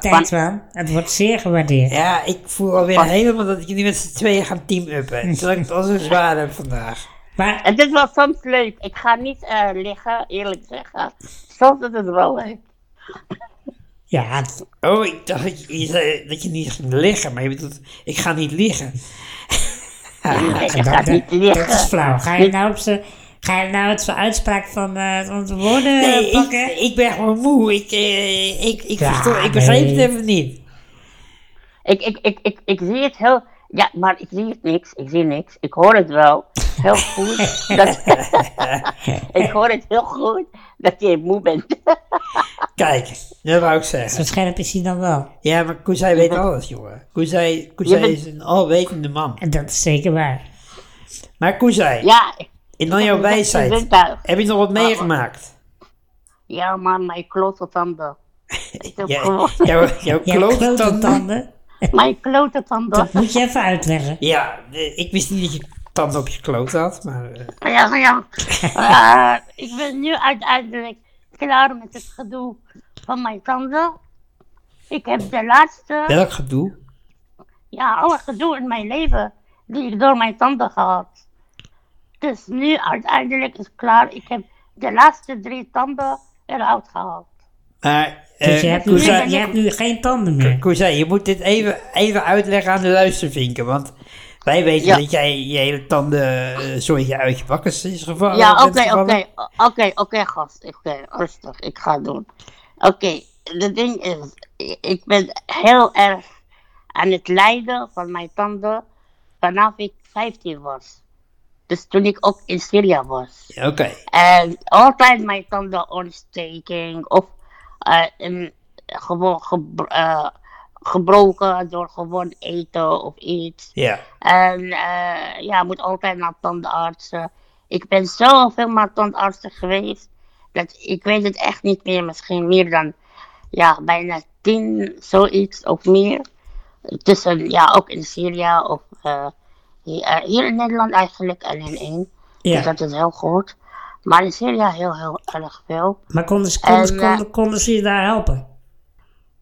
S2: Thanks man. Het wordt zeer gewaardeerd.
S1: Ja, ik voel alweer helemaal dat jullie met z'n tweeën gaan team-uppen. Terwijl ik het al zo zwaar heb vandaag.
S2: Maar
S5: En dit was soms leuk. Ik ga niet eh, liggen, eerlijk zeggen. Soms is het wel leuk.
S2: ja, het-
S1: Oh, ik dacht dat je, je zei dat je niet ging liggen, maar je bedoelt, ik ga niet liggen.
S5: Nee, ik
S2: dat,
S5: ga
S2: dat-
S5: niet
S2: dat is
S5: liggen.
S2: flauw. Ga je nou op ze... Ga je nou het voor uitspraak van, eh van de woorden eh,
S1: Nee,
S2: pakken?
S1: ik, ik ben gewoon moe. Ik, eh, ik, ik,
S2: Ja,
S1: verstond- ik
S2: nee.
S1: begreep het even niet.
S5: Ik, ik, ik, ik, ik zie het heel. Ja, maar ik zie het niks. Ik zie niks. Ik hoor het wel. Heel goed. dat, ik hoor het heel goed dat je moe bent.
S1: Kijk, dat wou ik zeggen.
S2: Zo scherp is hij dan wel.
S1: Ja, maar Koezij weet alles, jongen. Koezij, Koezij
S5: Je bent-
S1: is een alwetende man.
S2: En dat is zeker waar.
S1: Maar Koezij,
S5: ja, ik-
S1: in al jouw
S5: heb een beste
S1: wijsheid,
S5: zintuig.
S1: heb je nog wat meegemaakt?
S5: ja, maar mijn klote tanden. Ik heb
S1: Ja,
S5: gewoon
S1: jouw jouw
S2: Je hebt
S1: klote tanden.
S2: klotentanden.
S5: mijn klote tanden.
S2: Dat moet je even uitleggen.
S1: Ja, eh, ik wist niet dat je tanden op je kloot had, maar... eh,
S5: Ja, ja. Eh, ik ben nu uiteindelijk klaar met het gedoe van mijn tanden. Ik heb de laatste,
S1: welk gedoe?
S5: ja, alle gedoe in mijn leven die ik door mijn tanden gehad. Dus nu uiteindelijk is het klaar. Ik heb de laatste drie tanden eruit gehaald.
S1: Maar,
S2: Dus je
S1: eh,
S2: hebt, nu,
S5: Koezij-
S2: geen- je hebt nu geen tanden meer.
S1: Koezij, je moet dit even, even uitleggen aan de luistervinken, want wij weten
S5: Ja.
S1: dat jij je hele tanden eh, zooitje uit je bakkes is gevallen.
S5: Ja,
S1: bent
S5: oké, oké,
S1: gevallen.
S5: o- oké, oké, gast. Oké, rustig, ik ga het doen. Oké, de ding is, i- ik ben heel erg aan het lijden van mijn tanden vanaf ik 15 was. Dus toen ik ook in Syrië was.
S1: Oké,
S5: En altijd mijn tanden ontsteking of eh, een- gewoon gebro- eh, gebroken door gewoon eten of iets.
S1: ja.
S5: En eh, ja, moet altijd naar tandartsen. Ik ben zoveel naar tandartsen geweest. Dat ik weet het echt niet meer. Misschien meer dan ja, bijna tien, zoiets of meer. Tussen, ja, ook in Syrië of eh, hier, eh, hier in Nederland eigenlijk alleen één. Dus
S2: Ja.
S5: dat is heel goed. Maar in Syrië heel, heel erg veel.
S2: Maar konden ze, konden,
S5: En, eh,
S2: konden, konden ze je daar helpen?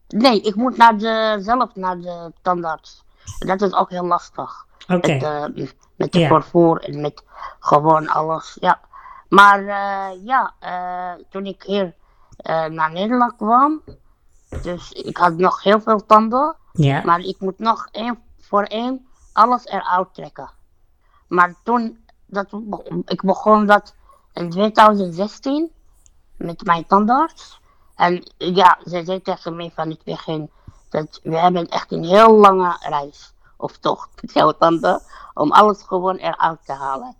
S5: Nee, ik moet naar de, zelf naar de tandarts. Dat is ook heel lastig.
S2: Oké.
S5: Met, eh, met de
S2: Ja.
S5: vervoer en met gewoon alles, ja. Maar eh, ja, eh, toen ik hier eh, naar Nederland kwam, dus ik had nog heel veel tanden,
S2: Ja.
S5: maar ik moet nog één voor één alles eruit trekken. Maar toen, dat, be- ik begon dat in 2016 met mijn tandarts. En ja, ze zei tegen mij van het begin dat we hebben echt een heel lange reis of tocht met jouw tanden om alles gewoon eruit te halen.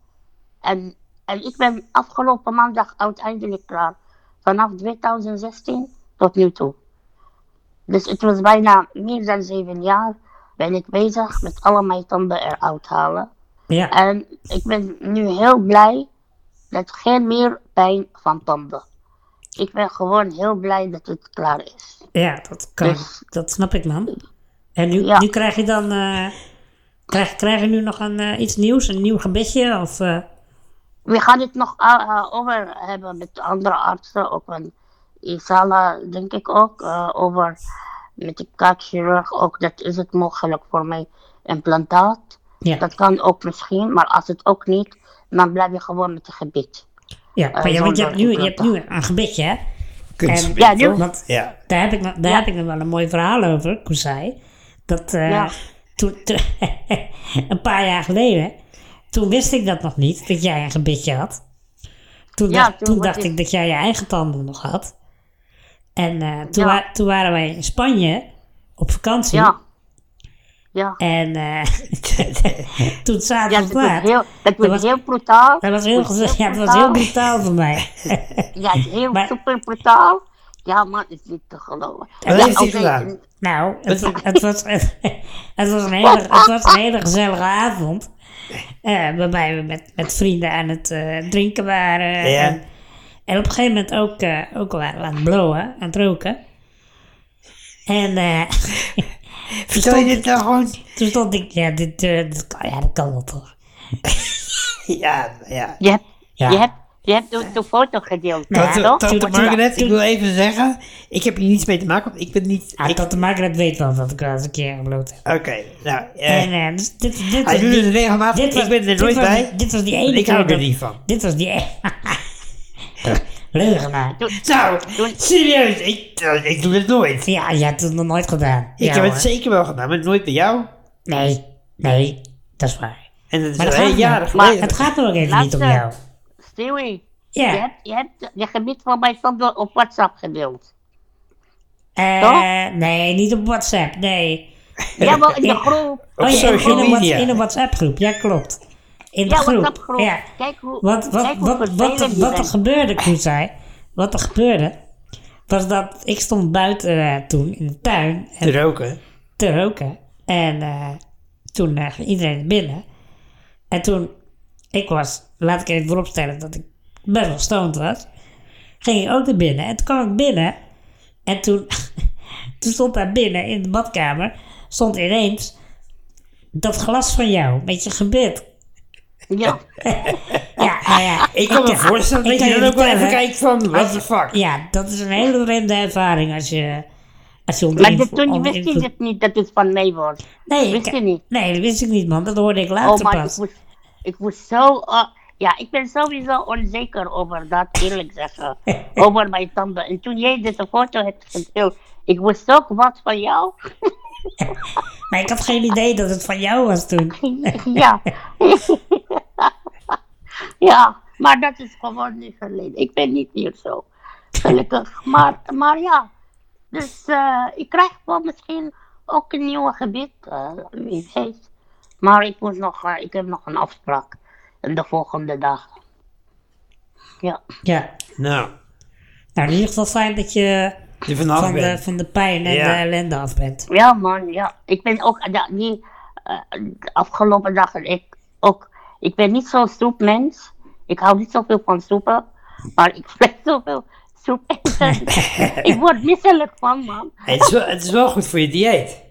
S5: En, en ik ben afgelopen maandag uiteindelijk klaar. Vanaf 2016 tot nu toe. Dus het was bijna meer dan zeven jaar ben ik bezig met alle mijn tanden eruit halen.
S2: ja.
S5: En ik ben nu heel blij dat geen meer pijn van tanden. Ik ben gewoon heel blij dat het klaar is.
S2: ja, dat kan.
S5: dus-
S2: Dat snap ik, man. En nu,
S5: Ja.
S2: nu krijg je dan... eh, krijg, krijg je nu nog een, eh, iets nieuws? Een nieuw gebedje? Of, eh,
S5: We gaan het nog eh, eh, over hebben met andere artsen, ook van Isala, denk ik ook, eh, over met de kaakchirurg ook, dat is het mogelijk voor mij, implantaat.
S2: ja.
S5: Dat kan ook misschien, maar als het ook niet, dan blijf je gewoon met het gebit.
S2: ja. Maar ja,
S5: Eh, zonder
S2: want je, hebt nu, je hebt nu
S5: implantaat.
S2: een gebedje, hè?
S1: Kunstgebit,
S5: Ja, nu-
S1: toch?
S2: Want
S1: Ja.
S2: Daar heb ik, nog- daar heb ik nog wel een mooi verhaal over, Koezai. Dat eh,
S5: Ja.
S2: toen, toen- een paar jaar geleden, toen wist ik dat nog niet, dat jij een gebitje had. Toen,
S5: Ja,
S2: dacht,
S5: toen
S2: toen,
S5: was
S2: dacht
S5: ik-
S2: ik dat jij je eigen tanden nog had. En eh, toen,
S5: Ja.
S2: wa- toen waren wij in Spanje op vakantie.
S5: Ja. Ja.
S2: En eh, toen
S5: Ja,
S2: zaten we
S5: dat was
S2: klaar.
S5: heel, dat was
S2: was-
S5: heel brutaal.
S2: Dat was heel gezellig. Ja, dat was heel brutaal voor mij.
S5: Ja, het is heel
S2: Maar-
S5: super brutaal. Ja, maar het is niet te geloven.
S1: Wat
S5: ja,
S1: heeft hij
S5: oké,
S1: gedaan?
S2: Nou, het, wa- het, was, het, was een hele, het was een hele gezellige avond. Eh, waarbij we met, met vrienden aan het eh, drinken waren.
S1: Ja.
S2: En, en op een gegeven moment ook, eh, ook waren we aan het blowen, aan het roken. En eh,
S1: Vertel je dit nou gewoon?
S2: toen stond ik, ja, dit, eh, dit kan, ja, dat kan wel toch.
S1: Ja, ja.
S5: Je hebt,
S2: Ja.
S5: je hebt, je hebt de, de foto gedeeld,
S2: Nou,
S5: hè,
S2: dat-
S5: toch?
S2: dat-
S1: Tante
S2: toen-
S1: Margaret, ik
S2: toen-
S1: wil even zeggen, ik heb hier niets mee te maken, want ik ben niet...
S2: Ah,
S1: ik-
S2: Tante Margaret weet wel dat ik wel eens een keer gebloot heb.
S1: Oké, nou, eh,
S2: En eh, dus dit, dit,
S1: hij
S2: was
S1: doet
S2: die-
S1: het regelmatig,
S2: dit was-
S1: ik ben er
S2: dit
S1: nooit
S2: was-
S1: bij.
S2: Dit was die ene
S1: Ik
S2: keer
S1: hou er
S2: dat-
S1: niet van.
S2: Dit was die ene... Leugenaar.
S1: Nou,
S5: Toen-
S1: serieus, ik, eh, ik doe het nooit.
S2: Ja, je hebt het nog nooit gedaan.
S1: Ik
S2: Ja,
S1: heb
S2: hoor.
S1: het zeker wel gedaan, maar nooit bij jou.
S2: Nee, nee, dat is waar.
S1: En dat is
S2: Maar
S1: al
S2: dat
S1: heel
S2: gaat
S1: jaren
S2: niet.
S1: geleden.
S2: Het gaat er ook even
S5: Laat
S2: niet om
S5: ze-
S2: jou.
S5: Stewie,
S2: Ja.
S5: je, hebt, je hebt je gebied van mij standaard op WhatsApp gedeeld.
S2: Eh,
S5: Toch?
S2: nee, niet op WhatsApp, nee.
S5: Ja, maar in de
S2: Ik-
S5: groep.
S1: Op
S2: Oh, ja, in-
S1: social
S2: in, een Whats-
S1: media.
S2: in een WhatsApp-groep, ja, klopt. In de
S5: Ja,
S2: groep.
S5: WhatsApp groep.
S2: Ja.
S5: Kijk hoe,
S2: Wat, wat,
S5: kijk hoe
S2: wat, wat,
S5: vervelend
S2: er-
S5: je
S2: wat er
S5: bent.
S2: gebeurde, Koezij, wat er gebeurde, was dat ik stond buiten eh, toen in de tuin en
S1: Te roken.
S2: te roken. En eh, toen eh, ging iedereen binnen. En toen, ik was, laat ik even vooropstellen dat ik best wel stoned was. Ging ik ook naar binnen. En toen kwam ik binnen. En toen, toen stond daar binnen in de badkamer, stond ineens dat glas van jou met je gebit.
S5: Ja,
S2: Ja, nou ja.
S1: Ik kan me voorstellen
S2: ik
S1: dat
S2: kan
S1: je
S2: je
S1: dan ook wel even
S2: vertellen-
S1: kijkt van, what the fuck.
S2: Ja, dat is een hele vreemde ervaring als je, als je onder
S5: maar
S2: inv-
S5: dit, toen
S2: onder
S5: wist je
S2: invloed-
S5: dit niet dat dit van mij was.
S2: Nee,
S5: wist
S2: ik-
S5: je niet?
S2: Nee, dat wist ik niet, man. Dat hoorde ik
S5: Oh,
S2: later
S5: maar ik
S2: pas.
S5: moest, ik moest zo. eh, ja, ik ben sowieso onzeker over dat, eerlijk zeggen. over mijn tanden. En toen jij deze foto hebt gedeeld, ik moest zo kwaad van jou.
S2: Maar ik had geen idee dat het van jou was toen.
S5: ja. ja, maar dat is gewoon niet verleden. Ik ben niet meer zo. Gelukkig. Maar, maar ja, dus eh, ik krijg wel misschien ook een nieuw gebied. eh, wie weet. Maar ik, moet nog, eh, ik heb nog een afspraak. De volgende dag. Ja.
S2: Ja.
S1: Nou,
S2: Nou, in ieder geval fijn dat je
S1: je vanaf
S2: van de,
S1: bent.
S2: van de pijn en
S1: Ja.
S2: de ellende af bent.
S5: Ja, man, ja. Ik ben ook, ja, die eh, de afgelopen dagen, ik ook, ik ben niet zo'n soepmens. Ik hou niet zoveel van soepen, maar ik ben zoveel soep eten. ik word misselijk van, man.
S1: Het is, wel, het is wel goed voor je dieet.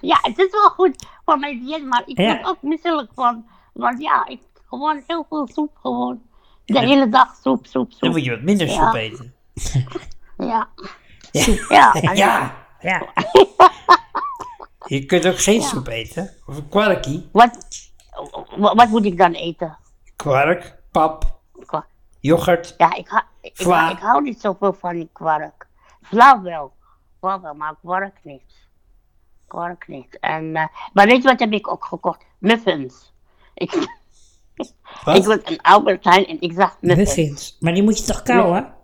S5: Ja, het is wel goed voor mijn dieet, maar ik
S2: Ja.
S5: word ook misselijk van. Want ja, ik gewoon heel veel soep, gewoon. De hele dag soep, soep,
S1: Dan
S5: soep.
S1: moet je wat minder soep eten.
S5: Ja. Ja, en-
S1: Ja,
S5: Oh,
S2: Ja.
S1: je kunt ook geen soep eten. Of een kwarkie.
S5: Wat, wa- wat moet ik dan eten?
S1: Kwark, pap,
S5: Qua-
S1: yoghurt.
S5: Ja, ik, hou- ik, ik,
S1: Vla.
S5: ik hou niet zoveel van die kwark. Vla wel. Vla wel, maar kwark niet. Kwark niet. En, eh, maar weet je wat heb ik ook gekocht? Muffins. Ik, ik
S1: Wat?
S5: was in Albert Heijn en ik zag muffins.
S2: Muffins. Maar die moet je toch kauwen?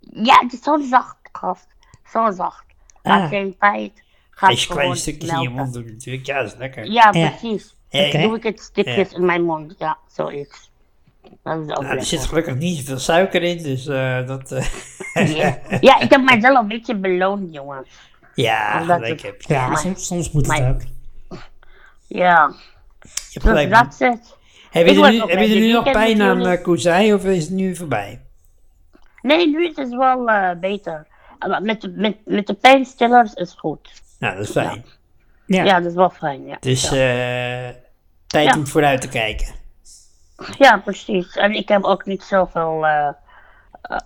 S5: Ja, het is zo zacht, gast. Zo zacht. Maar
S2: Ah.
S5: geen feit. Gaat
S1: Als je een klein
S5: gewoon
S1: stukje in je
S5: melken.
S1: mond doet natuurlijk. Ja, dat is lekker.
S5: Ja,
S2: Ja.
S5: precies.
S1: Eh,
S2: Oké.
S5: Doe ik het stukjes in mijn mond. Ja, zoiets. Dat is ook
S1: nou, er
S5: lekker.
S1: zit gelukkig niet zoveel suiker in, dus eh, dat... eh,
S5: Ja. ja, ik heb mijzelf een beetje beloond, jongens.
S1: ja,
S5: Omdat
S1: gelijk
S5: het-
S1: heb je.
S2: Ja,
S5: Maar-
S2: soms, soms moet het
S5: maar-
S2: ook.
S5: Ja,
S1: Je hebt
S5: dus
S1: gelijk.
S5: dat is het.
S1: Heb je
S5: Ik
S1: er
S5: word
S1: nu,
S5: ook
S1: heb je
S5: blij.
S1: er nu
S5: Dit
S1: nog
S5: weekend
S1: pijn aan
S5: natuurlijk.
S1: eh, koezij of is het nu voorbij?
S5: Nee, nu is het wel eh, beter. Maar met, de- met, met de pijnstillers is goed.
S1: Nou, dat is fijn.
S2: Ja.
S5: Ja, dat is wel fijn. Ja.
S1: Dus
S5: ja.
S1: eh, tijd
S5: Ja.
S1: om vooruit te kijken.
S5: Ja, precies. En ik heb ook niet zoveel eh, eh,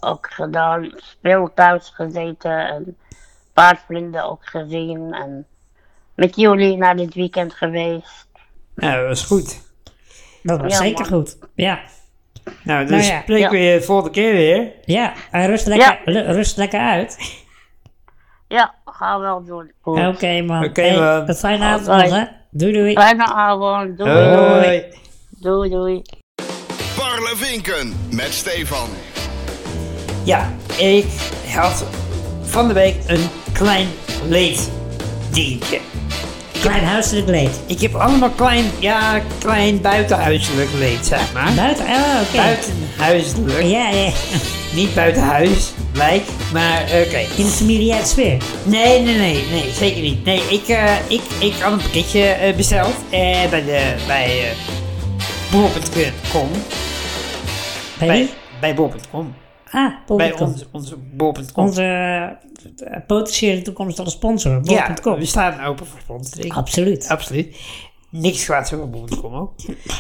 S5: ook gedaan. Veel thuis gezeten en een paar vrienden ook gezien. En met jullie naar dit weekend geweest.
S1: Nou, dat is goed.
S2: Dat was
S5: Ja,
S2: zeker
S5: man.
S2: goed. Ja.
S1: Nou, dan
S2: Nou ja.
S1: spreken we je de volgende keer weer.
S2: Ja. En rust lekker, lu- rust lekker uit.
S5: Ja, gaan we wel doen. Goed.
S2: Oké, man.
S1: Oké,
S2: Hey,
S1: man.
S2: Een fijne avond
S5: Hoi.
S2: nog, hè? Doei, doei.
S5: Fijne avond. Doei.
S1: Hoi.
S5: Doei, doei.
S4: Parlevinken met Stefan.
S1: Ja, ik had van de week een klein leeddingetje.
S2: Klein huiselijk leed.
S1: Ik heb allemaal klein, ja, klein buitenhuiselijk leed, zeg maar.
S2: Buiten? Oh, oké.
S1: Buitenhuiselijk.
S2: Ja, ja.
S1: Niet buitenhuis, lijkt, maar eh, oké.
S2: In de familiaire sfeer.
S1: Nee, nee, nee, nee, zeker niet. Nee, ik, eh, ik, ik had een pakketje eh, besteld eh, bij, de, bij eh bol.com.
S2: Bij
S1: Bij,
S2: wie?
S1: bij bol.com.
S2: Ah,
S1: Bij
S2: bol.com.
S1: ons, onze bol.com.
S2: Onze eh, potentiële toekomstige sponsor,
S1: Ja, dus-
S2: bol.com.
S1: we staan open voor sponsoring.
S2: Absoluut.
S1: Absoluut. Niks kwaads over bol.com ook.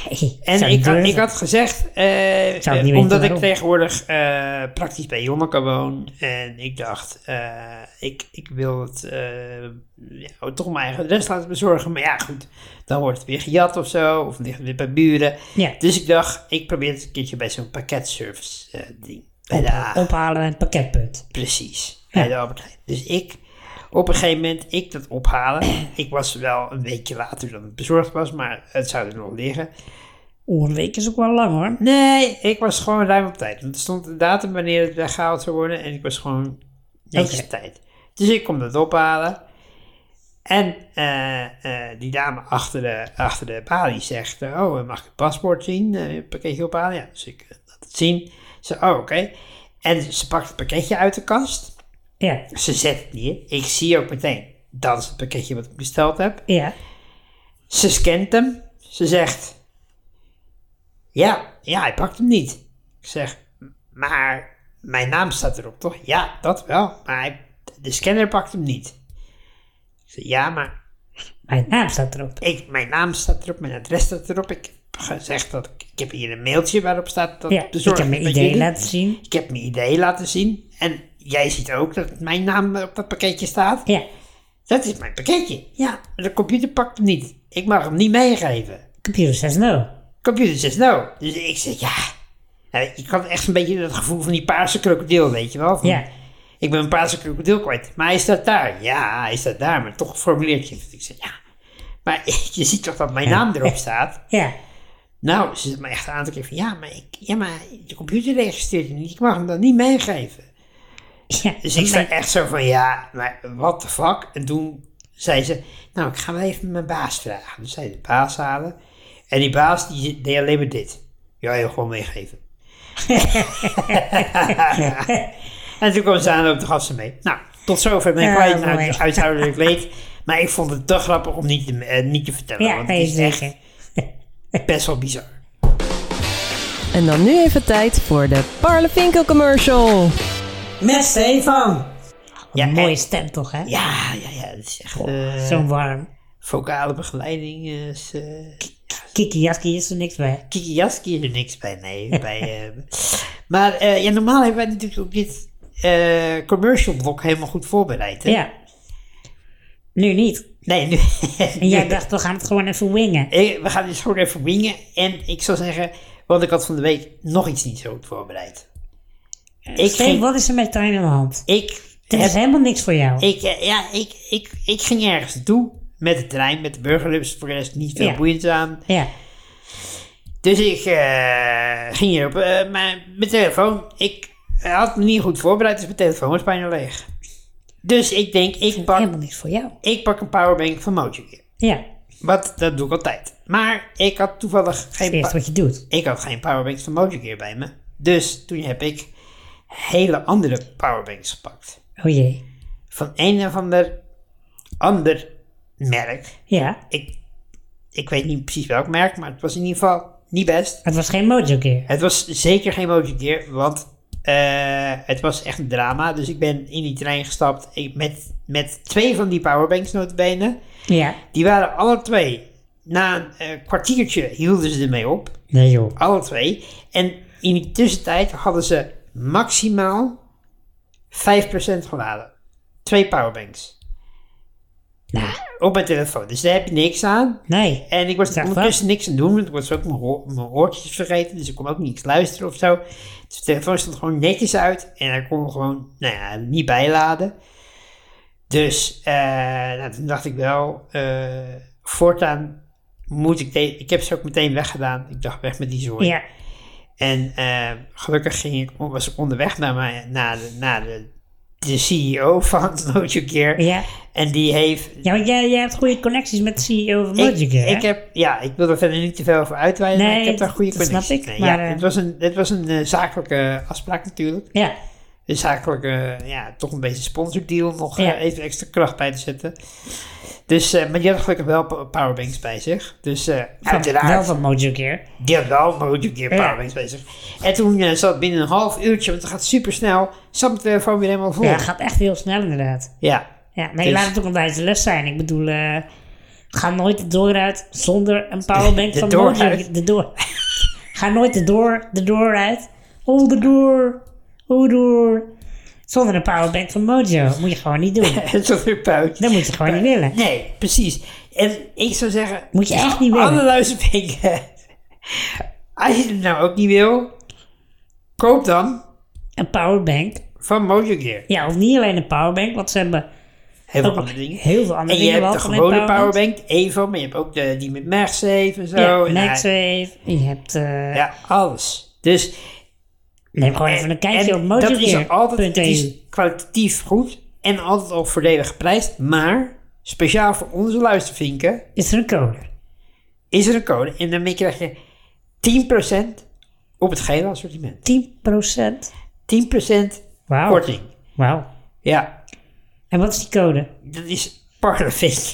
S2: Hey,
S1: En
S2: zou
S1: ik had,
S2: durven.
S1: ik had gezegd, eh,
S2: zou
S1: eh,
S2: niet weten
S1: omdat ik
S2: waarom.
S1: tegenwoordig eh, praktisch bij Jonneke woon. En ik dacht, eh, ik, ik wil het eh, ja, toch mijn eigen adres laten bezorgen. Maar ja, goed, dan wordt het weer gejat of zo. Of ligt het weer bij buren.
S2: Ja.
S1: Dus ik dacht, ik probeer het een keertje bij zo'n pakketservice eh, ding. ah, Bij de A.
S2: Ophalen en pakketpunt.
S1: Precies, bij de Albert Heijn. Dus ik, op een gegeven moment, ik dat ophalen. ik was wel een weekje later dan het bezorgd was, maar het zou er nog liggen.
S2: Oeh, een week is ook wel lang hoor.
S1: Nee, ik was gewoon ruim op tijd. Want er stond de datum wanneer het weggehaald zou worden en ik was gewoon netjes op
S2: Oké.
S1: tijd. Dus ik kom dat ophalen. En eh, eh, die dame achter de, achter de balie zegt, eh, oh, eh, mag ik het paspoort zien? Eh, een pakketje ophalen? Ja, dus ik eh, laat het zien. Ze, oh, oké. En ze pakt het pakketje uit de kast.
S2: Ja,
S1: Ze zet het neer. Ik zie ook meteen, dat is het pakketje wat ik besteld heb.
S2: ja.
S1: Ze scant hem. Ze zegt: Ja, ja, hij pakt hem niet. Ik zeg: Maar mijn naam staat erop, toch? Ja, dat wel. Maar hij- de scanner pakt hem niet. Ik zeg: Ja, maar
S2: Mijn naam staat erop.
S1: ik, mijn naam staat erop, mijn adres staat erop. Ik heb gezegd dat ik, ik heb hier een mailtje waarop staat dat
S2: Ja, ik
S1: bezorgd
S2: heb
S1: is
S2: mijn
S1: bij
S2: idee
S1: jullie.
S2: laten zien.
S1: Ik heb mijn idee laten zien. En jij ziet ook dat mijn naam op dat pakketje staat.
S2: Ja,
S1: Dat is mijn pakketje. Ja, maar de computer pakt hem niet. Ik mag hem niet meegeven.
S2: computer says no.
S1: Oh. computer zegt no. Dus ik zeg ja. Nou, je kan echt een beetje dat gevoel van die paarse krokodil, weet je wel? Van,
S2: Ja.
S1: Ik ben een paarse krokodil kwijt. Maar hij staat daar. Ja, hij staat daar, maar toch formuleert je het. Ik zeg ja. Maar je ziet toch dat mijn naam erop staat?
S2: Ja,
S1: Nou, ze zit me echt aan te kijken van ja maar, ik, ja, maar de computer registreert hem niet. Ik mag hem dan niet meegeven.
S2: ja.
S1: Dus ik
S2: dat
S1: sta
S2: mijn-
S1: echt zo van, ja, maar what the fuck? En toen zei ze, nou, ik ga wel even mijn baas vragen. Dus zij de baas halen. En die baas, die deed alleen maar dit. Ja, heel gewoon meegeven. en toen kwam ze aan en ook de gasten mee. Nou, tot zover mijn
S2: Ja,
S1: kwijt
S2: mooi.
S1: uit, huishoudelijk leed. Maar ik vond het te grappig om niet te, eh, niet te vertellen.
S2: Ja,
S1: want
S2: dat
S1: het
S2: is
S1: is echt
S2: zeker.
S1: best wel bizar.
S6: En dan nu even tijd voor de Parlevinkel commercial.
S2: Met Stefan.
S1: Ja,
S2: mooie
S1: en-
S2: stem toch, hè?
S1: Ja, ja, ja. Het is echt... eh,
S2: Zo warm.
S1: vocale begeleiding is... eh,
S2: Kiki Jaski is er niks bij.
S1: Kiki Jaski is er niks bij, nee. bij, eh, maar eh, ja, normaal hebben wij natuurlijk ook dit eh, commercial blok helemaal goed voorbereid. Hè?
S2: Ja. Nu niet.
S1: Nee, nu,
S2: En jij dacht, we gaan het gewoon even wingen.
S1: Eh, we gaan dus gewoon even wingen. En ik zou zeggen, want ik had van de week nog iets niet zo goed voorbereid. Ik
S2: Steve,
S1: ging,
S2: wat is er met Tijn aan de hand?
S1: ik,
S2: Er is helemaal niks voor jou.
S1: ik, eh, ja, ik, ik, ik ging ergens naartoe met de trein, met de burgerlips. Voor de rest niet veel
S2: Ja.
S1: boeiends aan.
S2: Ja,
S1: Dus ik eh, ging hierop. eh mijn, mijn telefoon, ik had me niet goed voorbereid, dus mijn telefoon was bijna leeg. Dus ik denk, ik pak,
S2: helemaal niks voor jou.
S1: ik pak een powerbank van Mojo.
S2: Ja,
S1: Want dat doe ik altijd. Maar ik had toevallig
S2: dat
S1: geen,
S2: is
S1: pa-
S2: eerst wat je doet.
S1: ik had geen powerbanks van Mojo bij me. Dus toen heb ik hele andere powerbanks gepakt.
S2: Oh jee.
S1: Van een of ander, ander merk.
S2: Ja,
S1: Ik, ik weet niet precies welk merk, maar het was in ieder geval niet best.
S2: het was geen mojo keer.
S1: Het was zeker geen motie keer, want eh, het was echt een drama. Dus ik ben in die trein gestapt ik, met, met twee van die powerbanks notabene.
S2: Ja.
S1: Die waren alle twee, na een eh, kwartiertje hielden ze ermee op,
S2: Nee joh.
S1: alle twee. En in die tussentijd hadden ze maximaal 5% geladen. Twee powerbanks.
S2: Nou,
S1: Op mijn telefoon, dus daar heb je niks aan.
S2: nee.
S1: En ik was
S2: Zeg
S1: er
S2: wat?
S1: ondertussen niks aan doen, want ik was ook mijn, oor- mijn oortjes vergeten, dus ik kon ook niks luisteren of zo. Dus de telefoon stond gewoon netjes uit en hij kon gewoon, nou ja, niet bijladen. Dus eh, nou, toen dacht ik wel, eh, voortaan moet ik, de- ik heb ze ook meteen weggedaan. Ik dacht, weg met die zooi.
S2: Ja,
S1: En eh, gelukkig ging ik, was ik onderweg naar, mijn, naar, de, naar de, de CEO van Mojo Gear.
S2: ja.
S1: En die heeft
S2: Ja, want jij, jij hebt goede connecties met de CEO van
S1: ik,
S2: Mojo Gear, hè?
S1: ik heb, ja, ik wil er verder niet te veel over uitweiden, maar
S2: Nee,
S1: ik heb daar
S2: dat-
S1: goede
S2: dat snap
S1: connecties
S2: ik,
S1: mee.
S2: maar,
S1: ja,
S2: eh,
S1: het was een, het was een eh, zakelijke afspraak natuurlijk.
S2: Ja,
S1: Een zakelijke, eh, ja, toch een beetje sponsordeal nog
S2: Ja.
S1: eh, even extra kracht bij te zetten. Dus, eh, maar die had gelukkig wel pa- powerbanks bij zich. Dus eh,
S2: van, wel
S1: uiteraard,
S2: van Mojo Gear.
S1: die had wel maar ook een keer
S2: Ja.
S1: powerbanks bij zich. En toen eh, zat binnen een half uurtje, want het gaat supersnel, zat eh, mijn telefoon weer helemaal vol.
S2: Ja, gaat echt heel snel inderdaad.
S1: ja.
S2: Ja, nee,
S1: Dus-
S2: laat het ook een wijze les zijn. Ik bedoel, eh, ga nooit de door uit zonder een powerbank
S1: De
S2: van
S1: door
S2: Mojo
S1: uit.
S2: Gear. De door. ga nooit de door, de door uit. Oh, de door. Oh, door. Zonder een powerbank van Mojo. Moet je gewoon niet doen.
S1: Het was weer puik.
S2: Dat moet je gewoon niet willen.
S1: Nee, precies. En ik zou zeggen...
S2: Moet je echt niet willen.
S1: Alle luisterpinken. Als je het nou ook niet wil, koop dan
S2: Een powerbank.
S1: van Mojo Gear.
S2: Ja, of niet alleen een powerbank, want ze hebben
S1: heel veel
S2: Ook
S1: andere dingen.
S2: heel veel andere
S1: en je
S2: dingen
S1: hebt de
S2: wel van
S1: gewone
S2: empowerment.
S1: powerbank, Evo, maar je hebt ook de, die met MagSafe en zo.
S2: Ja, eh,
S1: en hij-
S2: MagSafe. Je hebt... eh,
S1: Oh, ja, alles. Dus
S2: Neem gewoon even een kijkje op
S1: en dat is altijd het is
S2: motorgear.eu.
S1: kwalitatief goed en altijd al voordelig geprijsd. Maar speciaal voor onze luistervinken
S2: Is er een code?
S1: is er een code. En daarmee krijg je 10% op het gehele assortiment.
S2: 10%?
S1: 10%
S2: Wauw.
S1: korting.
S2: Wauw.
S1: Ja,
S2: En wat is die code?
S1: dat is Parlevinken.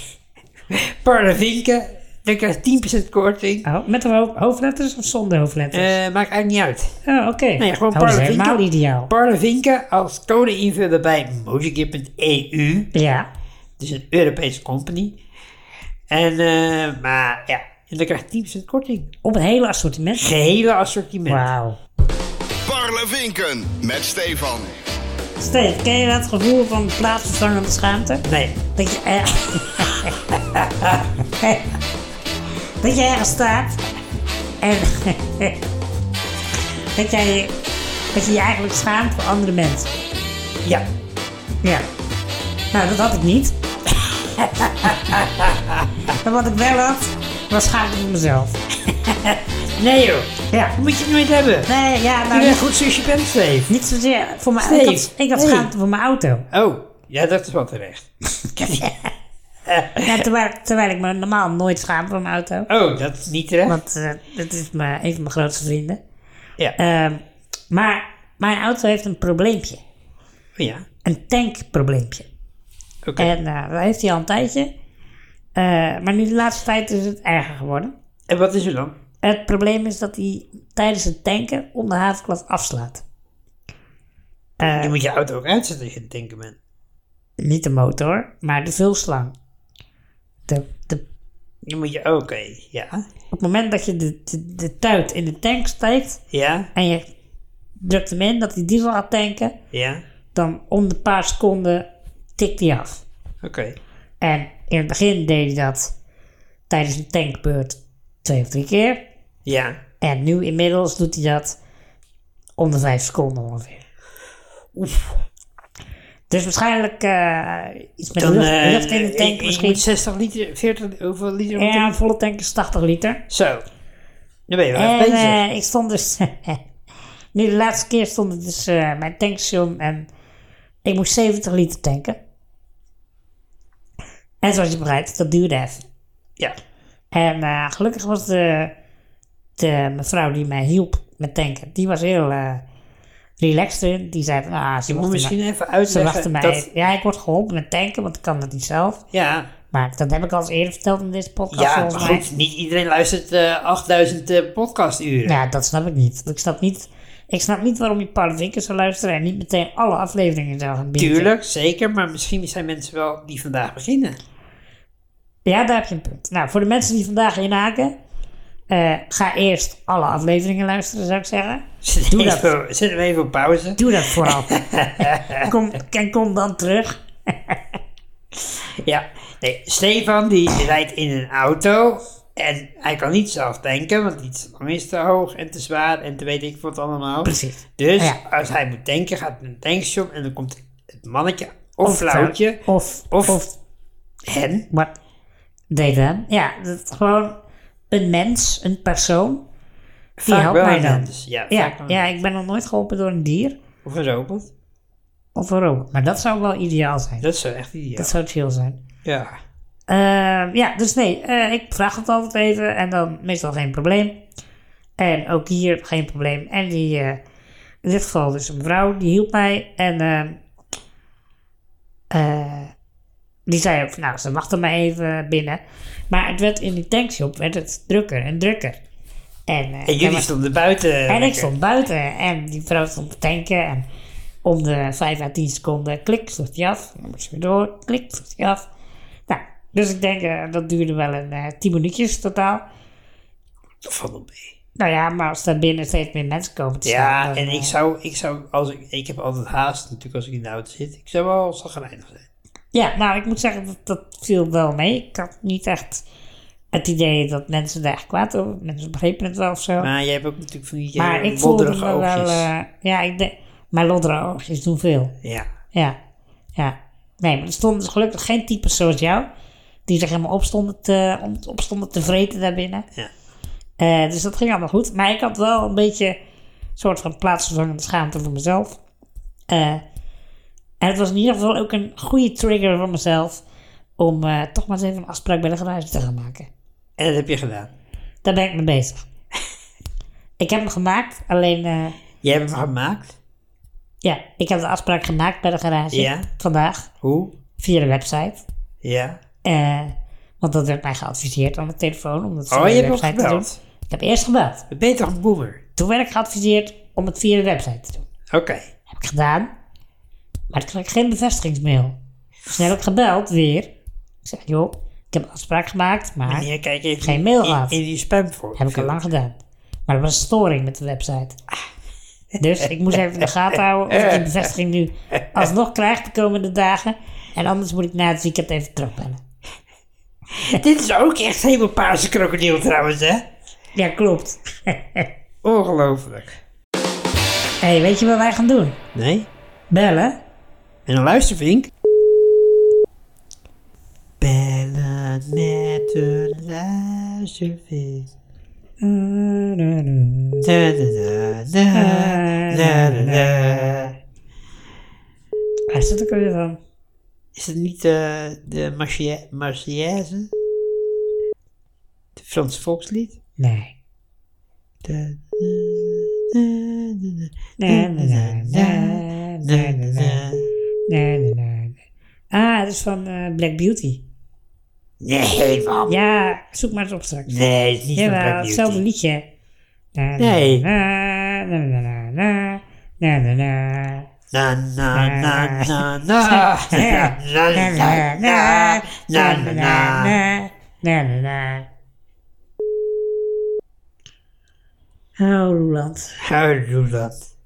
S1: Parlevinken, dan krijg je 10% korting.
S2: Oh, met de ho- hoofdletters of zonder hoofdletters?
S1: Eh, maakt eigenlijk niet uit.
S2: oh, oké.
S1: Nee, gewoon
S2: dat is
S1: Parlevinken.
S2: helemaal ideaal.
S1: Parlevinken als code invullen bij mojogear.eu.
S2: ja.
S1: Het is een Europese company. En, eh, maar ja, en dan krijg je 10% korting.
S2: Op het hele assortiment.
S1: Gehele assortiment.
S2: Wauw.
S4: Parlevinken met Stefan.
S2: Steve, ken je dat gevoel van plaatsvervangende schaamte?
S1: Nee,
S2: Dat je er- dat je ergens staat en dat, jij, dat je je eigenlijk schaamt voor andere mensen.
S1: ja.
S2: Ja. Nou, dat had ik niet. maar wat ik wel had, was schaamte voor mezelf.
S1: Nee joh,
S2: Ja.
S1: dat moet je nooit hebben.
S2: Nee, ja,
S1: Je
S2: nou,
S1: bent
S2: niet,
S1: goed zoals je bent, Steve.
S2: niet zozeer voor mijn...
S1: Steve,
S2: Ik had, ik had
S1: hey.
S2: schaamte voor mijn auto.
S1: Oh, ja, dat is wel terecht.
S2: Ja, terwijl, terwijl ik me normaal nooit schaam voor mijn auto.
S1: Oh, dat is niet terecht.
S2: Want eh, dat is mijn, een van mijn grootste vrienden.
S1: Ja.
S2: Ehm, maar mijn auto heeft een probleempje.
S1: Oh, ja,
S2: Een tankprobleempje.
S1: oké.
S2: En eh, dat heeft hij al een tijdje. Eh, maar nu de laatste tijd is het erger geworden.
S1: En wat is er dan?
S2: Het probleem is dat hij tijdens het tanken om de havenklap afslaat.
S1: je moet je auto ook uitzetten als je aan het tanken bent.
S2: Niet de motor, maar de vulslang. De, de,
S1: Je moet je, oké, ja.
S2: op het moment dat je de, de, de tuit in de tank steekt
S1: Ja,
S2: en je drukt hem in dat hij diesel gaat tanken,
S1: ja,
S2: dan om de paar seconden tikt hij af.
S1: oké.
S2: En in het begin deed hij dat tijdens een tankbeurt twee of drie keer.
S1: Ja.
S2: En nu inmiddels doet hij dat om de vijf seconden ongeveer. Dus waarschijnlijk eh, iets met
S1: Dan,
S2: lucht,
S1: eh,
S2: lucht in de tank
S1: ik- ik
S2: misschien.
S1: moet 60 liter, 40, hoeveel liter? moet
S2: ja,
S1: ik-
S2: een volle tank is 80 liter.
S1: Zo. Dan ben je wel
S2: En
S1: even bezig.
S2: eh, ik stond dus... nu de laatste keer stond het dus eh, mijn tankstation en ik moest 70 liter tanken. En zoals je begrijpt, dat duurde even.
S1: ja.
S2: En eh, gelukkig was de, de mevrouw die mij hielp met tanken, die was heel eh, relaxed in. Die zei van, ah, ze
S1: Je moet
S2: wachten
S1: misschien
S2: mij-
S1: even
S2: ze
S1: uitleggen
S2: wachten mij.
S1: dat...
S2: Ja, ik word geholpen met tanken, want ik kan dat niet zelf.
S1: Ja,
S2: Maar dat heb ik al eens eerder verteld in deze podcast,
S1: ja maar
S2: volgens mij.
S1: goed, niet iedereen luistert eh 8000 eh, podcasturen.
S2: Ja, dat snap ik niet. Ik snap niet, ik snap niet waarom je Paul Vinkers zou luisteren en niet meteen alle afleveringen zou gaan bieden.
S1: Tuurlijk, zeker, maar misschien zijn mensen wel die vandaag beginnen.
S2: Ja, daar heb je een punt. Nou, voor de mensen die vandaag inhaken, eh, ga eerst alle afleveringen luisteren, zou ik zeggen.
S1: Zet
S2: Doe
S1: even-
S2: dat.
S1: Zet hem even op pauze.
S2: Doe dat vooral. kom, en kom dan terug.
S1: Ja, nee, Stefan die rijdt in een auto en hij kan niet zelf tanken, want die slang is te hoog en te zwaar en te weet ik wat allemaal.
S2: Precies.
S1: Dus
S2: Ja.
S1: als hij moet tanken, gaat hij naar een tankstation en dan komt het mannetje of, vrouwtje
S2: Of,
S1: of,
S2: of,
S1: hen.
S2: wat deed hem? Ja, dat is gewoon een mens, een persoon. Die
S1: Vaak
S2: helpt
S1: wel
S2: mij
S1: een
S2: dan.
S1: mens, ja, vaak
S2: Ja,
S1: wel een
S2: ja, ik ben nog nooit geholpen door een dier
S1: Of een robot.
S2: of een robot. Maar dat zou wel ideaal zijn.
S1: Dat zou echt ideaal.
S2: Dat zou chill zijn.
S1: Ja.
S2: Ehm, ja, dus nee, eh, ik vraag het altijd even en dan meestal geen probleem. En ook hier geen probleem. En die, eh, in dit geval dus een vrouw, die hielp mij. En ehm, eh, die zei ook, van, nou, ze wachten maar even binnen. Maar het werd in die tankshop werd het drukker en drukker. En, eh,
S1: En
S2: daar
S1: jullie
S2: was-
S1: stonden buiten.
S2: en ik
S1: lekker.
S2: stond buiten en die vrouw stond te tanken. En om de 5 à 10 seconden, klik, sloeg hij af. Dan moest je weer door, klik, sloeg hij af. Nou, dus ik denk, eh, dat duurde wel een eh 10 minuutjes totaal.
S1: Van op mee.
S2: Nou ja, maar als daar binnen steeds meer mensen komen te
S1: Ja,
S2: staan. dan,
S1: en ik
S2: eh,
S1: zou, ik zou, als ik, ik heb altijd haast natuurlijk als ik in de auto zit. Ik zou wel zagrijnig zijn.
S2: Ja, nou, ik moet zeggen, dat, dat viel wel mee. Ik had niet echt het idee dat mensen daar echt kwaad over... Mensen begrepen het wel of zo.
S1: Maar jij hebt ook natuurlijk van die
S2: maar
S1: eh,
S2: ik voelde me
S1: modderige
S2: wel...
S1: oogjes.
S2: eh, ja, ik denk... Mijn loddere oogjes doen veel.
S1: ja.
S2: Ja, ja. Nee, maar er stonden dus gelukkig geen types zoals jou. Die zich helemaal opstonden te, om- opstonden te vreten daarbinnen.
S1: Ja.
S2: Eh, dus dat ging allemaal goed. Maar ik had wel een beetje een soort van plaatsvervangende schaamte voor mezelf. Eh, en het was in ieder geval ook een goede trigger voor mezelf. Om eh, toch maar eens even een afspraak bij de garage te gaan maken.
S1: En dat heb je gedaan.
S2: Daar ben ik mee bezig. ik heb hem gemaakt, alleen eh,
S1: Jij hebt hem gemaakt.
S2: ja, ik heb de afspraak gemaakt bij de garage.
S1: Ja.
S2: Vandaag,
S1: Hoe?
S2: via de website.
S1: Ja.
S2: Eh, want dat werd mij geadviseerd aan de telefoon om dat
S1: Oh,
S2: via
S1: je
S2: de
S1: hebt nog
S2: website te doen.
S1: gebeld.
S2: Ik heb eerst gebeld.
S1: Ben je toch een boomer?
S2: Toen werd ik geadviseerd om het via de website te doen.
S1: Oké.
S2: Heb ik gedaan. Maar ik kreeg geen bevestigingsmail. Dus toen heb ik gebeld weer. Ik zeg, joh, ik heb een afspraak gemaakt, maar
S1: Ja, kijk even
S2: Geen mail
S1: in-
S2: gehad.
S1: In, die spam voor.
S2: heb ik al lang gedaan. Maar er was een storing met de website. Dus ik moest even in de gaten houden of ik die bevestiging nu alsnog krijg de komende dagen. En anders moet ik na het weekend even terugbellen.
S1: Dit is ook echt helemaal paarse krokodil trouwens, hè?
S2: Ja, klopt.
S1: Ongelooflijk.
S2: Hé, hey, weet je wat wij gaan doen?
S1: Nee?
S2: Bellen?
S1: En dan luistervink. Bellen met de luistervink. Da, da, da, da, da, da, da.
S2: Waar is dat ook weer van?
S1: Is het niet eh, de Marsia- Marseillaise? Het Frans volkslied?
S2: Nee.
S1: Da, da, da, da,
S2: Na, na, na, na, na,
S1: da, da,
S2: na,
S1: da.
S2: na, na, na. Ah, dat is van eh, Black Beauty.
S1: Nee, man.
S2: Ja, zoek maar eens op straks.
S1: Nee, het is niet van Black
S2: Jawel,
S1: Beauty.
S2: hetzelfde liedje. Na, na,
S1: Nee.
S2: na, na, na, na, na, na, na, na.
S1: Na na na na na na na
S2: Na,
S1: na
S2: na,
S1: na na na na.
S2: na, na, na, na. Oh, Roland.
S1: Ga doe dat.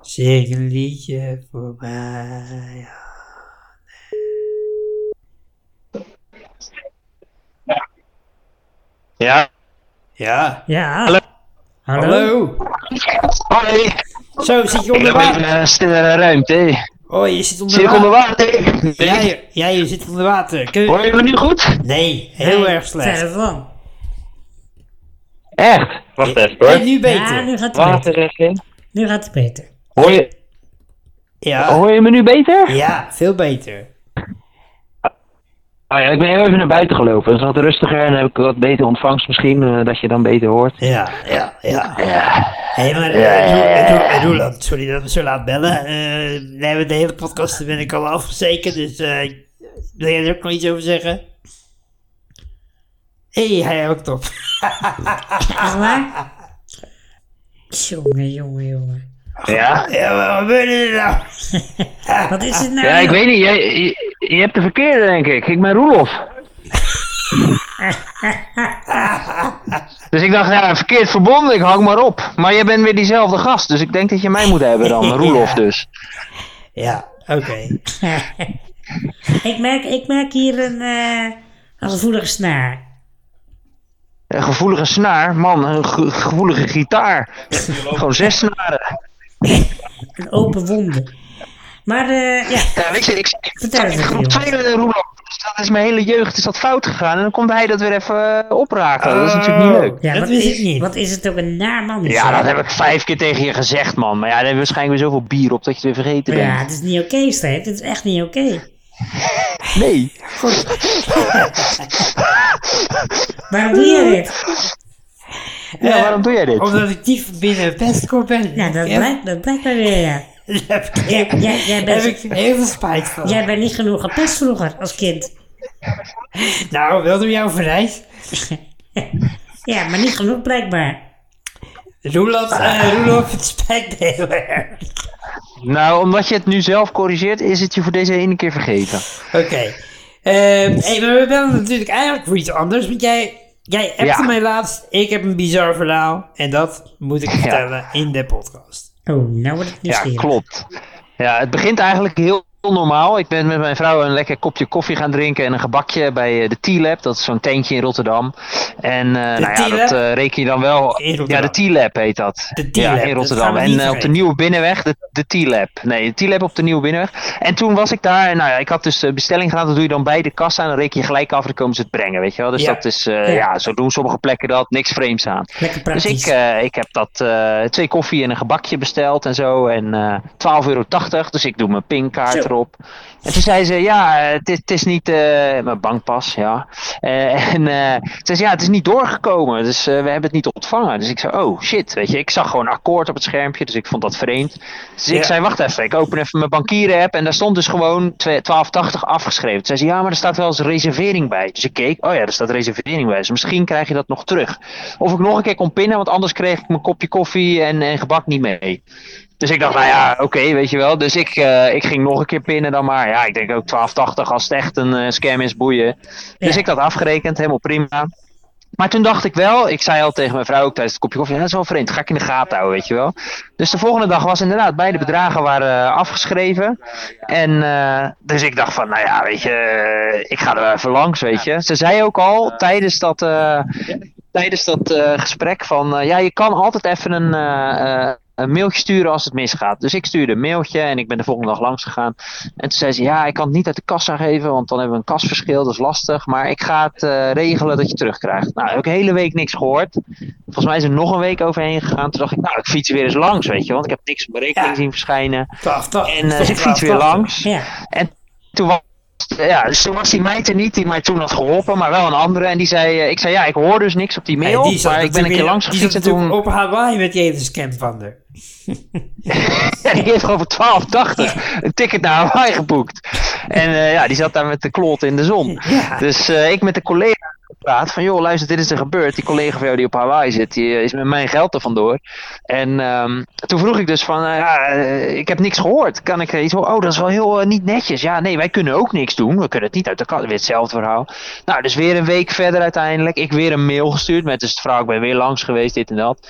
S1: Zing een liedje voor mij.
S7: Ja,
S1: Ja.
S2: Ja.
S7: Hallo.
S1: Hallo.
S7: hoi.
S1: Zo zit je onder
S7: Ik heb even
S1: water.
S7: een stille ruimte. hé.
S1: Oh, je zit onder
S7: Zit ik onder
S1: water.
S7: water?
S1: Ja,
S7: Nee.
S1: je, ja, je zit onder water. Kun je-
S7: Hoor je me nu goed?
S1: Nee, heel erg slecht.
S2: Verre van.
S7: Echt? Wacht even
S1: En nu
S2: Ja,
S1: beter.
S2: nu gaat het beter.
S7: Water erin.
S2: Nu gaat het beter.
S7: Hoor je,
S1: Ja.
S7: Oh, hoor je me nu beter?
S1: Ja, veel beter.
S7: Ah ja, ik ben heel even naar buiten gelopen. Dat is wat rustiger en dan heb ik wat beter ontvangst misschien, eh, dat je dan beter hoort.
S1: Ja, ja, ja. Hé, maar eh, Ro- Ro- Roland, sorry dat we zo laat bellen. Eh we hebben de hele podcast ben ik al afgezeken, dus eh, wil jij er ook nog iets over zeggen? Hé, hey, hij ook top.
S2: Echt waar? Jongen, jongen, jongen.
S7: Ja?
S1: Ja, maar wat gebeurde er nou?
S2: Wat is het nou?
S7: Ja, ik
S2: joh?
S7: weet niet. Jij, je, je hebt de verkeerde, denk ik. Ik ben Roelof. Dus ik dacht, ja, verkeerd verbonden, ik hang maar op. Maar jij bent weer diezelfde gast, dus ik denk dat je mij moet hebben dan, Roelof dus.
S1: Ja, oké.
S2: ik, merk, ik merk hier een, eh, een gevoelige snaar.
S7: Een gevoelige snaar, man, een ge- gevoelige gitaar. Gewoon zes snaren.
S2: Een open wonde. Maar eh, ja,
S7: Ja, weet je, ik
S2: Vertel eens
S7: ik
S2: even,
S7: groep
S2: jongen.
S7: 2 met een roelof. Dus dat is mijn hele jeugd is dat fout gegaan. En dan komt hij dat weer even eh, opraken. Dat is natuurlijk niet leuk.
S2: ja
S1: dat
S2: wat,
S1: wist
S2: is,
S1: ik niet.
S2: wat is het ook een naar man? is
S7: Ja,
S2: hij?
S7: dat heb ik vijf keer tegen je gezegd, man. Maar ja, daar heb je waarschijnlijk weer zoveel bier op dat je het weer vergeten
S2: Ja,
S7: bent.
S2: het is niet oké, Steve. Het is echt niet oké.
S7: Nee.
S2: Waarom doe je dit?
S7: Ja, waarom doe jij dit?
S1: Omdat ik diep binnen Pestco ben.
S2: Nou, dat
S1: Ja,
S2: blijkt, dat blijkt maar weer, ja.
S1: daar heb ik, heel-
S2: jij- jij
S1: daar
S2: bent-
S1: heb ik heel veel spijt van.
S2: Jij bent niet genoeg gepest vroeger, als kind.
S1: Nou, wel door jou verrijs.
S2: Ja, maar niet genoeg blijkbaar.
S1: Roeland, eh Roelof, het spijt me heel erg.
S7: Nou, omdat je het nu zelf corrigeert, is het je voor deze ene keer vergeten.
S1: Oké. Ehm, hey, maar we bellen natuurlijk eigenlijk voor iets anders. Want jij, jij appte
S7: Ja.
S1: mij laatst. Ik heb een bizar verhaal. En dat moet ik vertellen in de podcast.
S2: Oh, nou wordt het
S7: Ja,
S2: nieuwsgierig.
S7: klopt. Ja, het begint eigenlijk heel heel normaal. Ik ben met mijn vrouw een lekker kopje koffie gaan drinken en een gebakje bij eh, de T-Lab. Dat is zo'n tentje in Rotterdam. En eh, nou ja,
S1: T-Lab?
S7: dat eh, reken je dan wel.
S1: In Rotterdam.
S7: Ja, de T-Lab heet dat.
S1: De
S7: Ja,
S1: T-Lab,
S7: in
S1: dat gaan
S7: Rotterdam.
S1: we
S7: En
S1: niet
S7: eh, op de
S1: vergeten.
S7: Nieuwe Binnenweg, de, de T-Lab. Nee, de T-Lab op de Nieuwe Binnenweg. En toen was ik daar en nou ja, ik had dus eh, bestelling gedaan. Dat doe je dan bij de kassa en dan reken je gelijk af en dan komen ze het brengen, weet je wel. Dus
S1: Ja.
S7: dat is, eh,
S2: Ja.
S7: ja. zo doen sommige plekken dat. Niks vreemds aan.
S2: Lekker
S7: Dus
S2: praktisch.
S7: ik, eh, ik heb dat eh, twee koffie en een gebakje besteld en zo. En eh 12,80 euro. Dus ik doe mijn pinkaart
S2: Zo.
S7: erop. En toen zei ze, ja, eh, het is- het is niet... eh, mijn bankpas, ja. Eh, en eh ze zei, ja, het is niet doorgekomen. Dus eh, we hebben het niet ontvangen. Dus ik zei, oh shit, weet je. Ik zag gewoon akkoord op het schermpje. Dus ik vond dat vreemd. Dus
S1: Ja.
S7: ik zei, wacht even. Ik open even mijn bankieren app. En daar stond dus gewoon 12,80 afgeschreven. Toen zei ze, ja, maar er staat wel eens reservering bij. Dus ik keek, oh ja, er staat reservering bij. Dus misschien krijg je dat nog terug. Of ik nog een keer kon pinnen. Want anders kreeg ik mijn kopje koffie en, en gebak niet mee. Dus ik dacht, nou ja, oké, weet je wel. Dus ik, eh, ik ging nog een keer pinnen dan maar. Ja, ik denk ook 12,80 als het echt een eh, scam is, boeien. Dus
S2: Ja.
S7: ik had afgerekend, helemaal prima. Maar toen dacht ik wel, ik zei al tegen mijn vrouw ook tijdens het kopje koffie, ja, dat is wel vreemd, ga ik in de gaten houden, weet je wel. Dus de volgende dag was inderdaad, beide bedragen waren eh, afgeschreven. En eh, dus ik dacht van, nou ja, weet je, eh, ik ga er wel even langs, weet je. Ze zei ook al tijdens dat, eh, tijdens dat eh, gesprek van, eh, ja, je kan altijd even een, eh, eh, een mailtje sturen als het misgaat. Dus ik stuurde een mailtje en ik ben de volgende dag langs gegaan. En toen zei ze, ja, ik kan het niet uit de kassa geven, want dan hebben we een kasverschil, dat is lastig. Maar ik ga het eh, regelen dat je terugkrijgt. Nou, heb ik de hele week niks gehoord. Volgens mij is er nog een week overheen gegaan. Toen dacht ik, nou, ik fiets weer eens langs, weet je. Want ik heb niks op mijn rekening
S1: Ja.
S7: zien verschijnen.
S1: 12,80.
S7: En eh,
S1: Toch
S7: ik fiets weer
S1: 12,80.
S7: langs.
S2: Ja,
S7: En toen was, ja, dus toen was die meid er niet die mij toen had geholpen, maar wel een andere. En die zei, eh, ik zei, ja, ik hoor dus niks op die mail,
S1: Ja, die zat
S7: maar ik ben een
S1: natuurlijk
S7: keer langs
S1: weer- die
S7: gefietst
S1: zat
S7: en toen...
S1: natuurlijk op Hawaii met die hele scam van haar.
S7: Ja, die heeft gewoon voor 12,80 een ticket naar Hawaii geboekt. En eh, ja, die zat daar met de klot in de zon. Dus eh, ik met de collega gepraat van, joh, luister, dit is er gebeurd. Die collega van jou die op Hawaii zit, die eh, is met mijn geld er vandoor. En ehm, toen vroeg ik dus van, eh, ja, eh, ik heb niks gehoord. Kan ik eh, iets horen? Oh, dat is wel heel eh, niet netjes. Ja, nee, wij kunnen ook niks doen. We kunnen het niet uit de kast. Weer hetzelfde verhaal. Nou, dus weer een week verder uiteindelijk. Ik weer een mail gestuurd met dus het verhaal, ik ben weer langs geweest, dit en dat.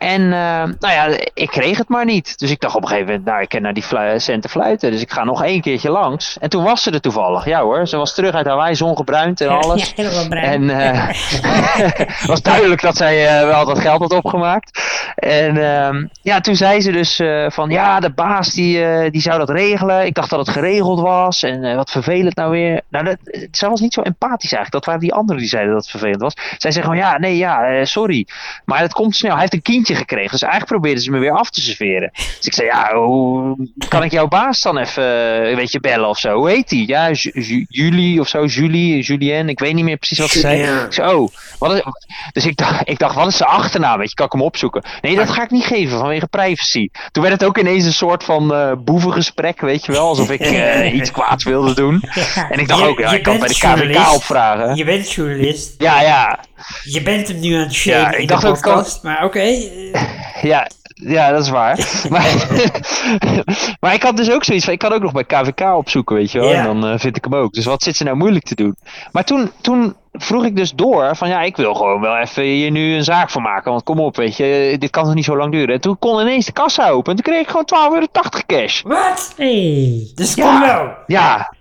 S7: En eh, nou ja, ik kreeg het maar niet. Dus ik dacht op een gegeven moment, nou, ik ken naar die flu- centen fluiten. Dus ik ga nog één keertje langs. En toen was ze er toevallig. Ja hoor, ze was terug uit Hawaii, zongebruind en alles.
S2: Ja, helemaal bruin.
S7: En eh, het eh, was duidelijk dat zij eh, wel dat geld had opgemaakt. En ehm, ja, toen zei ze dus eh, van ja, de baas die, eh, die zou dat regelen. Ik dacht dat het geregeld was en eh, wat vervelend nou weer. Nou, dat, eh, ze was niet zo empathisch eigenlijk. Dat waren die anderen die zeiden dat het vervelend was. Zij zeggen gewoon ja, nee, ja, eh, sorry. Maar het komt snel. Hij heeft een kindje gekregen. Dus eigenlijk probeerden ze me weer af te serveren. Dus ik zei ja, hoe kan ik jouw baas dan even eh, een beetje bellen of zo? Hoe heet die? Ja, Ju- Ju- Julie of zo, Julie, Julien. Ik weet niet meer precies wat ze zei.
S1: Julien.
S7: Ik zei, oh, wat is, dus ik dacht, ik dacht, wat is zijn achternaam? Weet je, kan ik hem opzoeken? Nee, dat ga ik niet geven vanwege privacy. Toen werd het ook ineens een soort van eh, boevengesprek, weet je wel. Alsof ik eh, iets kwaads wilde doen. En ik dacht
S1: Je-
S7: ook, ja,
S1: je
S7: ik kan het bij
S1: bent
S7: de KVK
S1: journalist.
S7: opvragen.
S1: Je bent journalist.
S7: Ja, ja,
S1: Je bent hem nu aan het shamen
S7: Ja, ik
S1: in
S7: dacht
S1: de
S7: ook, kan-
S1: podcast. Maar oké. eh,
S7: ja, ja, dat is waar. maar, maar ik had dus ook zoiets van, ik kan ook nog bij KVK opzoeken, weet je wel.
S1: Ja.
S7: En dan eh, vind ik hem ook. Dus wat zit ze nou moeilijk te doen? Maar toen, toen vroeg ik dus door van, ja, ik wil gewoon wel even hier nu een zaak van maken. Want kom op, weet je, dit kan toch niet zo lang duren. En toen kon ineens de kassa open en toen kreeg ik gewoon 12,80 euro cash.
S1: wat?
S2: hey.
S1: Dus kom wel.
S7: Ja.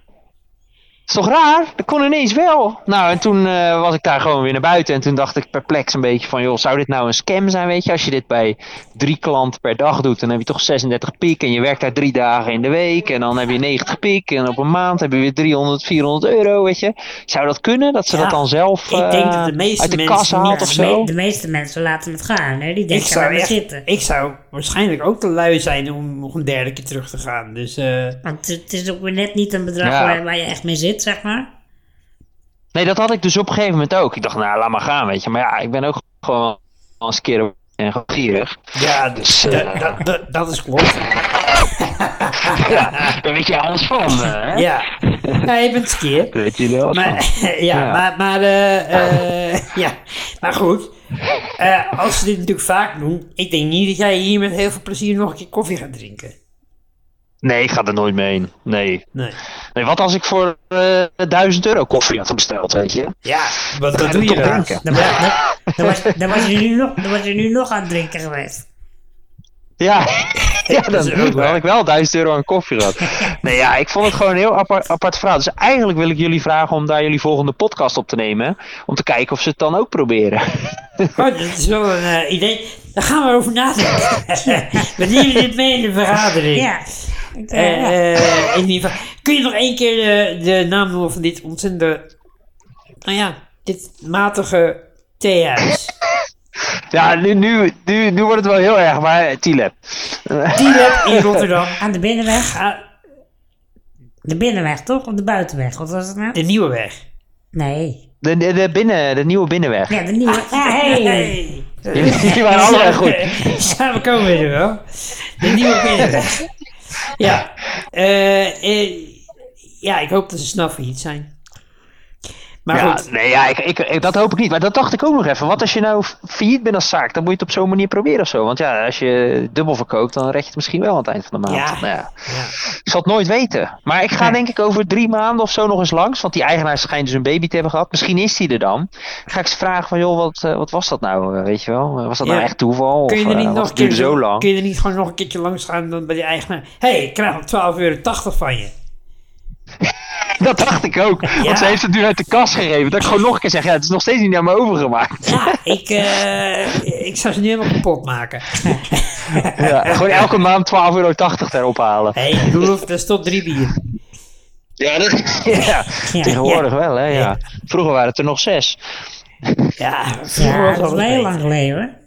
S7: Is toch raar? Dat kon ineens wel. Nou, en toen eh, was ik daar gewoon weer naar buiten. En toen dacht ik perplex een beetje van... joh, zou dit nou een scam zijn, weet je? Als je dit bij drie klanten per dag doet... dan heb je toch 36 piek. En je werkt daar drie dagen in de week. En dan heb je 90 piek. En op een maand heb je weer 300, 400 euro, weet je? Zou dat kunnen? Dat ze
S1: Ja,
S7: dat dan zelf
S1: ik denk
S7: eh,
S1: dat de meeste
S7: uit de
S1: mensen
S7: kassa
S1: niet-
S7: haalt
S2: Ja,
S7: of
S2: de, me-
S7: zo?
S2: de meeste mensen laten het gaan. Hè? Die
S1: Ik
S2: denken
S1: zou,
S2: waar we
S1: echt,
S2: zitten.
S1: ik zou waarschijnlijk ook te lui zijn om nog een derde keer terug te gaan. Dus eh,
S2: Want het- het is ook weer net niet een bedrag
S7: Ja.
S2: waar, waar je echt mee zit, zeg maar.
S7: Nee, dat had ik dus op een gegeven moment ook. Ik dacht, nou, laat maar gaan, weet je. Maar ja, ik ben ook gewoon wel eens een keer eh, gierig.
S1: ja, dus,
S7: eh,
S1: dat- dat- dat- dat is klopt.
S7: Daar weet je alles van, eh, hè?
S1: Ja, ja je bent skeer.
S7: Weet je wel?
S1: Maar, ja,
S7: Ja.
S1: maar, maar, eh, eh, ja. maar goed. Eh, als ze dit natuurlijk vaak doen, ik denk niet dat jij hier met heel veel plezier nog een keer koffie gaat drinken.
S7: Nee, ik ga er nooit mee heen. Nee.
S1: Nee.
S7: nee wat als ik voor eh 1000 euro koffie had besteld, weet je?
S1: Ja, wat, wat
S7: ik
S1: doe je
S7: toch
S1: dan?
S7: drinken.
S2: Dan, was- dan, dan was, dan, was je nu nog, dan was je nu nog aan het drinken geweest.
S7: Ja. ja, dan,
S1: Dat is ook
S7: dan had
S1: waar.
S7: ik wel 1000 euro aan koffie gehad. nee, ja, ik vond het gewoon een heel apart, apart verhaal. Dus eigenlijk wil ik jullie vragen om daar jullie volgende podcast op te nemen. Om te kijken of ze het dan ook proberen.
S1: Oh, dat is wel een eh, idee. Daar gaan we over nadenken. we nemen dit mee in de vergadering.
S2: Ja. Ik, eh,
S1: Eh,
S2: ja.
S1: eh, in ieder geval. Kun je nog één keer eh, de naam noemen van dit ontzettende... Nou ja, dit matige theehuis.
S7: ja, nu, nu, nu, nu wordt het wel heel erg, maar Tilep.
S1: Die heb in Rotterdam.
S2: Aan de binnenweg.
S1: Ah,
S2: De binnenweg, toch? Of de buitenweg? Wat was het nou?
S1: de Nieuwe Weg.
S2: Nee.
S7: De, de, de binnen, de nieuwe binnenweg.
S2: Ja, de nieuwe. Ah, hey.
S7: Jullie die waren allemaal goed.
S1: Samen komen we er wel. De nieuwe binnenweg. Ja. eh, eh, ja, ik hoop dat ze snel failliet zijn. Maar
S7: Ja,
S1: goed.
S7: nee, ja, ik, ik, ik- dat hoop ik niet. Maar dat dacht ik ook nog even. Wat als je nou failliet bent als zaak? Dan moet je het op zo'n manier proberen of zo. Want ja, als je dubbel verkoopt, dan red je het misschien wel aan het eind van de maand.
S1: Ja.
S7: Nou ja. Ik zal het nooit weten. Maar ik ga denk ik over drie maanden of zo nog eens langs. Want die eigenaar schijnt dus een baby te hebben gehad. Misschien is die er dan. Ga ik ze vragen van, joh, wat, eh, wat was dat nou? eh, Weet je wel? Was dat
S1: Ja.
S7: nou echt toeval?
S1: Kun je
S7: of,
S1: er
S7: eh,
S1: niet
S7: wat
S1: nog een keer
S7: duurde zo lang?
S1: Kun je er niet gewoon nog een keertje langs gaan dan bij die eigenaar? Hé, hey, ik krijg nog 12,80 euro van je.
S7: Dat dacht ik ook. Want ze heeft het nu uit de kas gegeven. Dat ik gewoon nog een keer zeg, ja, het is nog steeds niet naar me overgemaakt.
S1: Ja, ik, eh, ik zou ze nu helemaal kapot maken.
S7: Ja, gewoon elke maand 12,80 euro erop halen.
S1: Hé, hey, Roelof, dat is tot drie bier.
S7: Ja, dat... ja, tegenwoordig wel, hè. Ja. Vroeger waren het er nog zes.
S1: Ja,
S2: Ja,
S1: vroeger was
S2: dat is
S1: alles
S2: wel
S1: beter.
S2: heel lang geleden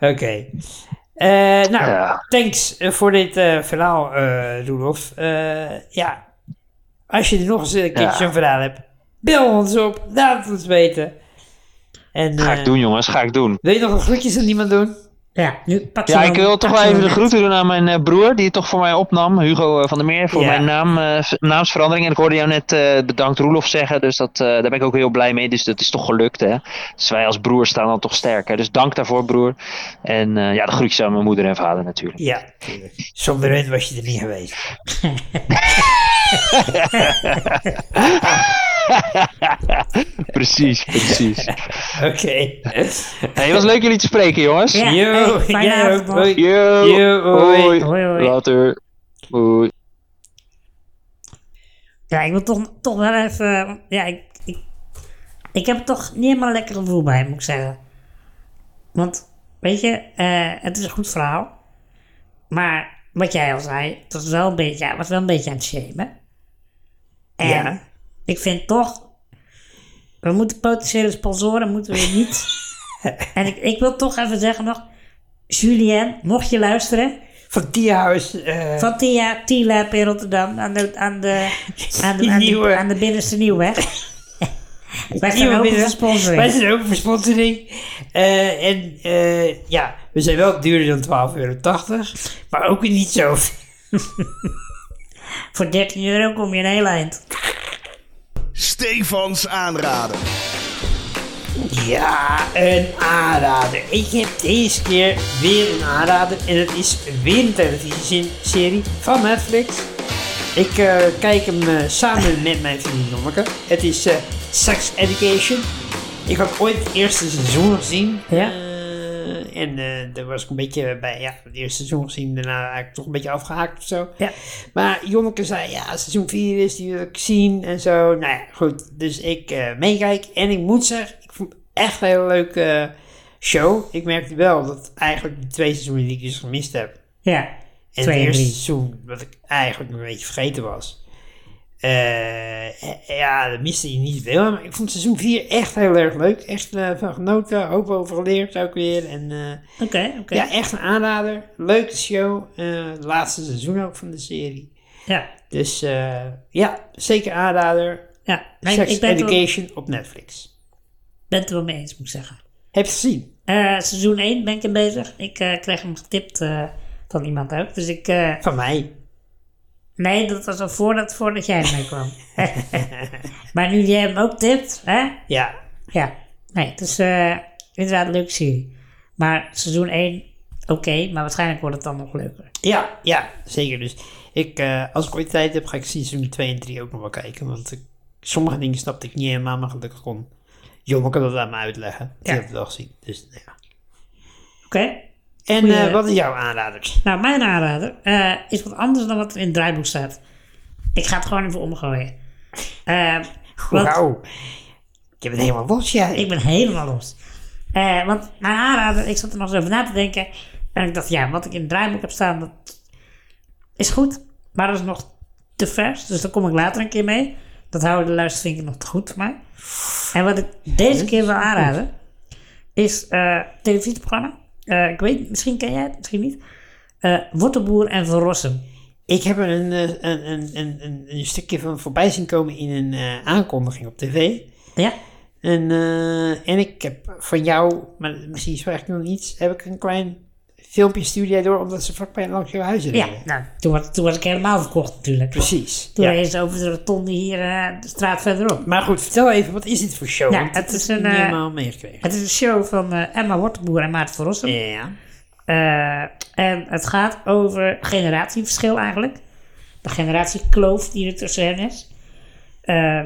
S2: hoor.
S1: Oké. Eh, nou,
S7: Ja.
S1: thanks eh, voor dit eh, verhaal, eh Roelof. Eh, ja, als je er nog eens een keertje
S7: Ja.
S1: zo'n verhaal hebt, bel ons op, laat het ons weten. En,
S7: Ga
S1: eh,
S7: ik doen, jongens. Ga ik doen.
S1: Wil je nog een groetjes aan iemand doen?
S2: Ja, nu pak ze
S7: Ja,
S2: dan-
S7: ik wil
S2: pak
S7: toch
S2: ze
S7: wel even de
S2: dan
S7: groeten doen aan mijn eh, broer, die het toch voor mij opnam. Hugo eh, van der Meer, voor
S1: Ja.
S7: mijn naam, eh, v- naamsverandering. En ik hoorde jou net eh, bedankt Roelof zeggen, dus dat, eh, daar ben ik ook heel blij mee. Dus dat is toch gelukt, hè. Dus wij als broer staan dan toch sterk, hè. Dus dank daarvoor, broer. En eh, ja, de groetjes aan mijn moeder en vader natuurlijk.
S1: Ja, tuurlijk. Zonder hun was je er niet geweest.
S7: Precies, precies.
S1: Oké.
S7: hey, het was leuk jullie te spreken, jongens.
S2: Ja,
S1: Yo,
S2: hey, fijne
S1: yo,
S2: avond nog.
S1: hoi.
S7: Yo,
S1: Yo, hoi.
S2: Hoi, hoi.
S7: Later. Hoi.
S2: Ja, ik wil toch, toch wel even... Ja, ik, ik, ik heb toch niet helemaal lekker gevoel bij, moet ik zeggen. Want, weet je, eh, het is een goed verhaal. Maar wat jij al zei, het was wel een beetje, ja, het was wel een beetje aan het shamen. En
S1: Ja.
S2: ik vind toch... We moeten potentiële sponsoren, moeten we niet... en ik, ik wil toch even zeggen nog... Julien, mocht je luisteren...
S1: Van Tierhuis. eh
S2: Van Tia, T-Lab in Rotterdam aan de, aan de, aan de,
S1: Die
S2: aan de,
S1: nieuwe.
S2: aan de binnenste Nieuwweg. Wij zijn
S1: Nieuwe
S2: open
S1: binnen-
S2: voor sponsoring.
S1: Wij zijn open voor sponsoring. Eh, en eh, ja, we zijn wel duurder dan 12,80 euro. Maar ook weer niet zo.
S2: Voor 13 euro kom je een heel eind.
S4: Stefans aanraden.
S1: Ja, een aanrader. Ik heb deze keer weer een aanrader. En dat is weer een televisieserie van Netflix. Ik eh, kijk hem eh, samen met mijn vriendin Nonneke. Het is eh, Sex Education. Ik had ooit het eerste seizoen gezien.
S2: Ja.
S1: Eh, en eh, daar was ik een beetje bij. Ja, het eerste seizoen gezien. Daarna eigenlijk toch een beetje afgehaakt of zo.
S2: Ja.
S1: Maar Jonneke zei, ja, seizoen 4 is, die wil ik zien en zo. Nou ja, goed. Dus ik eh, meekijk. En ik moet zeggen, ik vond het echt een hele leuke eh, show. Ik merkte wel dat eigenlijk de twee seizoenen die ik dus gemist heb.
S2: Ja,
S1: En
S2: Twee en
S1: het eerste
S2: drie.
S1: seizoen, wat ik eigenlijk een beetje vergeten was. Eh, eh, ja, dat miste je niet veel. Maar ik vond seizoen 4 echt heel erg leuk. Echt eh, van genoten, hoop over geleerd ook weer. En eh,
S2: oké, oké.
S1: ja, echt een aanrader. Leuke show. Eh, het laatste seizoen ook van de serie.
S2: Ja,
S1: Dus eh, ja, zeker aanrader.
S2: ja. Nee,
S1: Sex
S2: ik ben het wel-
S1: Education op Netflix.
S2: ben het er wel mee eens, moet ik zeggen.
S1: Heb je gezien?
S2: Eh, seizoen 1 ben ik er bezig. Ik eh, kreeg hem getipt eh, van iemand ook. Dus ik... eh,
S1: Van mij.
S2: nee, dat was al voordat, voordat jij ermee kwam. maar nu jij hem ook tipt, hè?
S1: Ja.
S2: Ja, nee, het is eh, inderdaad een leuke serie. Maar seizoen 1, oké, maar waarschijnlijk wordt het dan nog leuker.
S1: Ja, ja, zeker. Dus ik, eh, als ik ooit tijd heb, ga ik seizoen 2 en 3 ook nog wel kijken. Want ik- sommige dingen snapte ik niet helemaal, maar gelukkig kon Jommeke dat aan me uitleggen. Die
S2: Ja.
S1: heeft het wel gezien. Dus nou ja.
S2: Oké,
S1: En
S2: Goeie-
S1: eh, wat is jouw aanrader?
S2: Nou, mijn aanrader eh, is wat anders dan wat in het draaiboek staat. Ik ga het gewoon even omgooien. Eh, want
S1: Wauw. Je bent helemaal los, ja.
S2: ik ben helemaal los. Eh, want mijn aanrader, ik zat er nog eens over na te denken. En ik dacht, ja, wat ik in het draaiboek heb staan, dat is goed. Maar dat is nog te vers, dus daar kom ik later een keer mee. Dat houden de luistervinken nog te goed voor mij. En wat ik deze keer wil aanraden, is eh televisieprogramma. Eh, ik weet, misschien ken jij het, misschien niet. Eh Wortelboer en Van Rossum.
S1: Ik heb er een, eh, een, een, een, een, een stukje van voorbij zien komen in een eh, aankondiging op tv.
S2: Ja?
S1: En, eh, en ik heb van jou, maar misschien zwaar ik nog niets, heb ik een klein filmpje stuurde jij door omdat ze vlakbij langs jouw huis reden.
S2: Ja, nou, toen was, toen was ik helemaal verkocht natuurlijk.
S1: Precies.
S2: Toen
S1: ja.
S2: reed ze over de rotonde hier eh, de straat verderop.
S1: Maar goed, vertel even, wat is dit voor show?
S2: Ja,
S1: Want
S2: het
S1: dat
S2: is
S1: heb ik
S2: een,
S1: niet
S2: eh,
S1: helemaal meegekregen.
S2: Het is een show van eh, Emma Wortelboer en Maarten van Rossum.
S1: Ja.
S2: Eh, en het gaat over generatieverschil eigenlijk. De generatiekloof die er tussen hen is. Eh,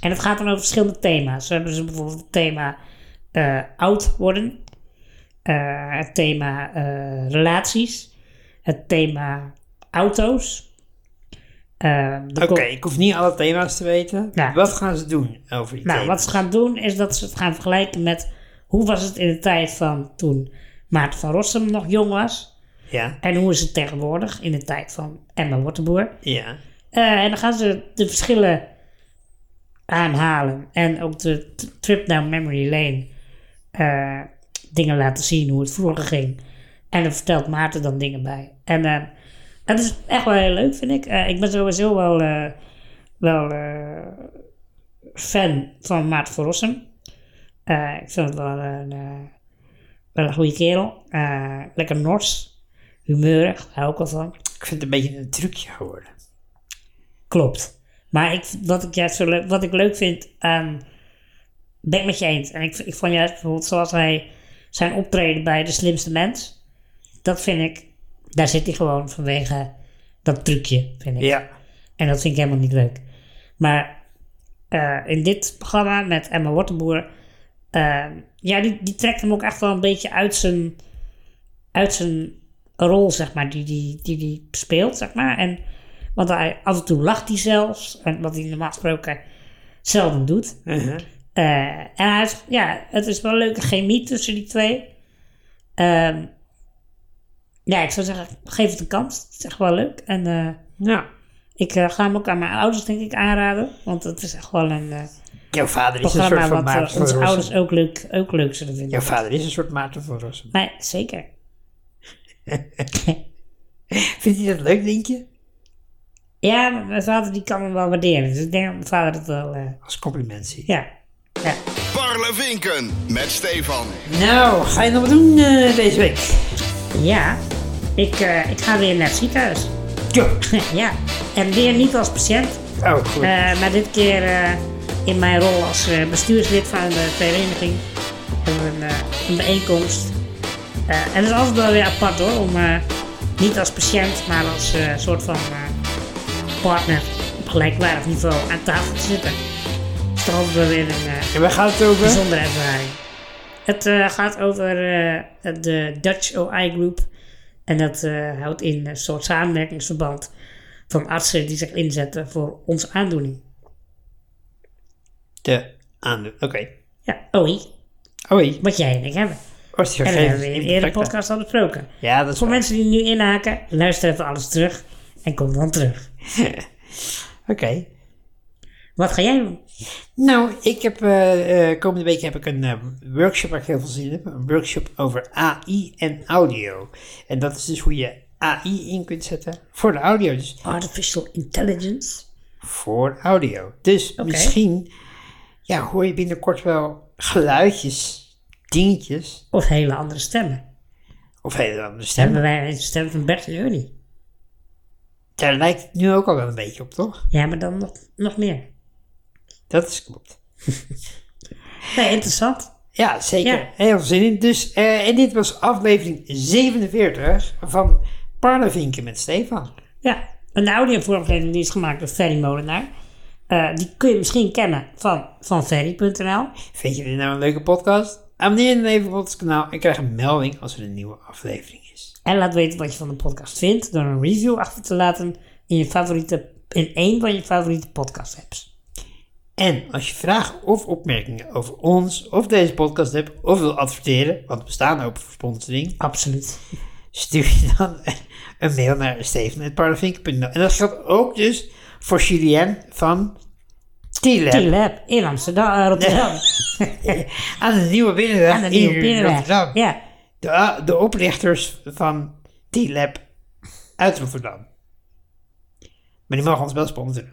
S2: en het gaat dan over verschillende thema's. Zo hebben ze bijvoorbeeld het thema eh, oud worden. Eh, het thema eh, relaties. Het thema auto's. Eh, de
S1: Oké,
S2: co-
S1: ik hoef niet alle thema's te weten.
S2: Ja.
S1: Wat gaan ze doen over die
S2: Nou,
S1: thema's?
S2: wat ze gaan doen is dat ze het gaan vergelijken met hoe was het in de tijd van toen Maarten van Rossum nog jong was.
S1: Ja,
S2: En hoe is het tegenwoordig in de tijd van Emma Wortenboer.
S1: ja.
S2: Eh, en dan gaan ze de verschillen aanhalen. En ook de t- trip down memory lane eh, dingen laten zien hoe het vroeger ging. En dan vertelt Maarten dan dingen bij. En eh dat is echt wel heel leuk, vind ik. Eh, ik ben sowieso wel, eh, wel eh, fan van Maarten van Rossum. Eh, ik vind het wel een, eh, wel een goede kerel. Eh, lekker nors, humeurig, hou ik wel van.
S1: Ik vind het een beetje een trucje geworden.
S2: Klopt. Maar ik, wat ik juist zo leuk, wat ik leuk vind, ehm ben ik met je eens. En ik, ik vond juist bijvoorbeeld zoals hij zijn optreden bij De Slimste Mens, dat vind ik, daar zit hij gewoon vanwege dat trucje, vind ik.
S1: Ja.
S2: En dat vind ik helemaal niet leuk. Maar eh, in dit programma met Emma Wortenboer, eh, ja, die, die trekt hem ook echt wel een beetje uit zijn, uit zijn rol, zeg maar, die die, die, die speelt, zeg maar. En, want hij, af en toe lacht hij zelfs, en wat hij normaal gesproken zelden doet.
S1: Mhm.
S2: Eh, en hij heeft- ja, het is wel een leuke chemie tussen die twee. Ehm, ja, ik zou zeggen, geef het een kans. Het is echt wel leuk. En eh,
S1: Nou,
S2: ik eh, ga hem ook aan mijn ouders, denk ik, aanraden. Want het is echt wel een eh,
S1: jouw vader is een soort
S2: programma
S1: van
S2: wat eh,
S1: Maarten van
S2: onze
S1: Rossum.
S2: ouders ook leuk, ook leuk zullen vinden.
S1: Jouw vader is een soort Maarten van Rossum.
S2: Nee, zeker.
S1: Vindt hij dat leuk, denk je?
S2: Ja, maar mijn vader die kan hem wel waarderen. Dus ik denk dat mijn vader dat wel... eh,
S1: Als compliment zie.
S2: ja. ja.
S4: Parlevinken met Stefan.
S1: Nou, ga je nog wat doen eh, deze week?
S2: Ja. Ik, eh, ik ga weer naar het ziekenhuis.
S1: Jo.
S2: ja. En weer niet als patiënt.
S1: Oh, goed.
S2: eh, maar dit keer eh, in mijn rol als eh, bestuurslid van de vereniging. Hebben we een, eh, een bijeenkomst. Eh, en het is altijd wel weer apart hoor. Om eh, niet als patiënt, maar als eh, soort van eh, partner op gelijkwaardig niveau aan tafel te zitten. Het is toch altijd wel weer een... eh,
S1: en waar gaat het over?
S2: bijzondere ervaring. Het eh, gaat over eh, de Dutch OI Group. En dat eh, houdt in een soort samenwerkingsverband van artsen die zich inzetten voor onze aandoening.
S1: De aandoen. Oké. Oh,
S2: Ja, OI,
S1: Oei.
S2: wat jij en ik hebben. En dat hebben we in een
S1: Oei.
S2: eerdere podcast al besproken.
S1: Ja, dat is
S2: Voor
S1: waar.
S2: mensen die nu inhaken, luister even alles terug en kom dan terug.
S1: Oké.
S2: Wat ga jij doen?
S1: Nou, ik heb, eh, eh, komende week heb ik een eh, workshop waar ik heel veel zin in heb. Een workshop over AI en audio. En dat is dus hoe je AI in kunt zetten voor de audio. Dus
S2: Artificial Intelligence.
S1: voor audio. Dus misschien ja, hoor je binnenkort wel geluidjes, dingetjes
S2: Of hele andere stemmen.
S1: of hele andere
S2: Hebben
S1: stemmen.
S2: wij een stem van Bert en Ernie?
S1: Daar lijkt het nu ook al wel een beetje op, toch?
S2: Ja, maar dan nog, nog meer.
S1: Dat is klopt.
S2: Nee, interessant.
S1: Ja, zeker.
S2: Ja.
S1: Heel veel zin in. Dus, eh, en dit was aflevering 47 van Parlevinken met Stefan.
S2: Ja, een audiovormgeving die is gemaakt door Ferry Molenaar. Eh, die kun je misschien kennen van, van ferry.nl.
S1: Vind je dit nou een leuke podcast? Abonneer dan even op ons kanaal en krijg een melding als er een nieuwe aflevering is.
S2: En laat weten wat je van de podcast vindt door een review achter te laten in, je favoriete, in één van je favoriete podcast apps.
S1: En als je vragen of opmerkingen over ons of deze podcast hebt of wil adverteren, want we staan open voor sponsoring,
S2: Absoluut.
S1: stuur je dan een mail naar steven.parlevinken.nl. En dat geldt ook dus voor Julien van T-Lab
S2: T-Lab in Amsterdam, eh, Rotterdam.
S1: aan de Nieuwe Binnenweg
S2: Aan de
S1: in
S2: Nieuwe Binnenweg.
S1: Rotterdam.
S2: Ja,
S1: De, de oprichters van T-Lab uit Rotterdam. Maar die mogen ons wel sponsoren.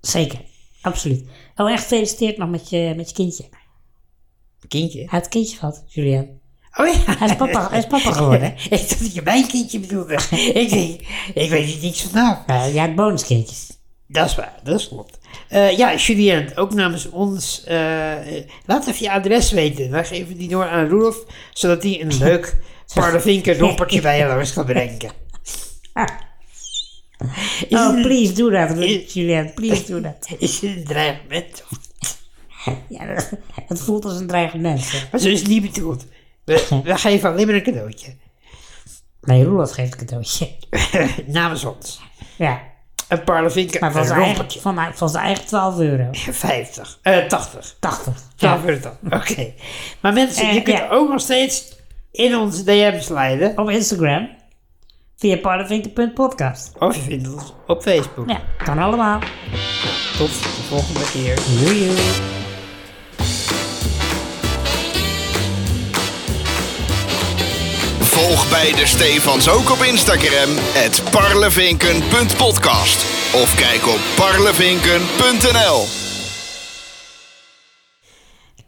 S2: zeker. Absoluut. Oh, en gefeliciteerd nog met je, met je kindje. Hij
S1: Kindje?
S2: had een kindje gehad, Julian.
S1: Oh ja.
S2: Hij is papa, hij is papa geworden.
S1: Ik dacht dat je mijn kindje bedoelde. ik, denk, ik weet hier niks vanaf.
S2: Eh, ja, het bonuskindjes.
S1: Dat is waar, dat is klopt. Eh, ja, Julien, ook namens ons. eh, eh, laat even je adres weten. Dan geven we die door aan Roelof, zodat hij een leuk parlevinker dompertje bij je langs kan brengen.
S2: Ah. Oh, please do that, Julian. Please do that.
S1: Is dit een dreigement?
S2: Ja, dat- het voelt als een dreigement. hè.
S1: Maar zo is het niet bedoeld. We, we geven alleen maar een cadeautje.
S2: Nee, Roelof geeft een cadeautje.
S1: namens ons.
S2: Ja,
S1: Een parlevinker,
S2: maar van
S1: een
S2: zijn eigen,
S1: rompertje.
S2: van, haar- van zijn eigen 12 euro.
S1: 50, eh 80.
S2: 80.
S1: Ja,
S2: Ja.
S1: wordt het dan. Oké. Maar mensen,
S2: Eh,
S1: je kunt
S2: ja.
S1: ook nog steeds in onze DM's leiden.
S2: Op Instagram. Via parlevinken.podcast.
S1: Of je vindt ons op Facebook.
S2: Ja, kan allemaal.
S1: Tot de volgende keer.
S2: Joejoe.
S4: Volg beide Stefans ook op Instagram, het parlevinken.podcast. Of kijk op parlevinken.nl.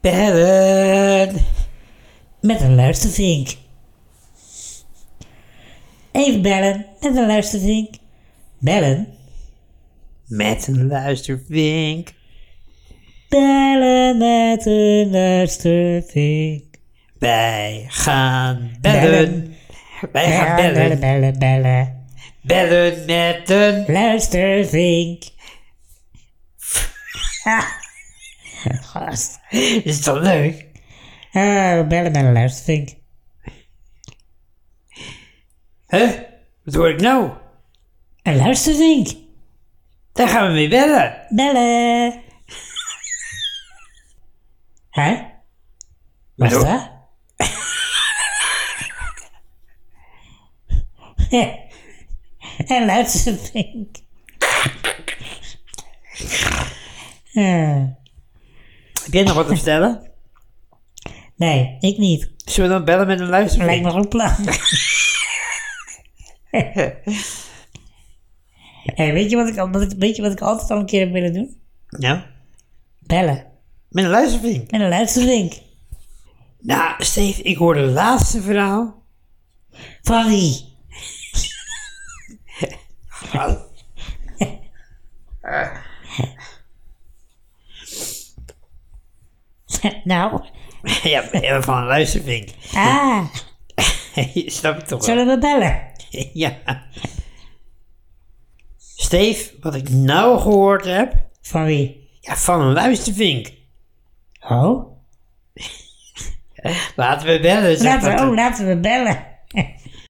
S1: Bellen.
S2: Met een luistervink. Even bellen. Met een luistervink. Bellen.
S1: Met een luistervink.
S2: Bellen met een luistervink.
S1: Wij gaan bellen. Wij gaan
S2: bellen,
S1: bellen.
S2: bellen, bellen.
S1: Bellen met een...
S2: Luister, Vink. Gast.
S1: Is dat leuk?
S2: Ah, bellen met een luistervink.
S1: Huh? Wat hoor ik nou?
S2: Een luistervink.
S1: Daar gaan we mee bellen.
S2: Bellen. Hè? Wat is dat? een luistervink. Ah,
S1: Heb jij nog wat te vertellen?
S2: nee, ik niet.
S1: Zullen we dan bellen met een luistervink?
S2: Lijkt me een plan. hey, weet, je wat ik, al- wat ik- weet je wat ik altijd al een keer heb willen doen?
S1: Nou,
S2: Bellen.
S1: met een luistervink.
S2: Met een luistervink.
S1: Nou, Steve, ik hoorde het laatste verhaal.
S2: Van wie? nou,
S1: ja, maar van een luistervink.
S2: ah,
S1: Je snapt het toch wel?
S2: zullen we bellen?
S1: Ja. Steve, wat ik nou gehoord heb,
S2: Van wie?
S1: ja, van een luistervink.
S2: Oh?
S1: Laten we bellen, zegt
S2: Laten we,
S1: dat.
S2: oh, laten we bellen.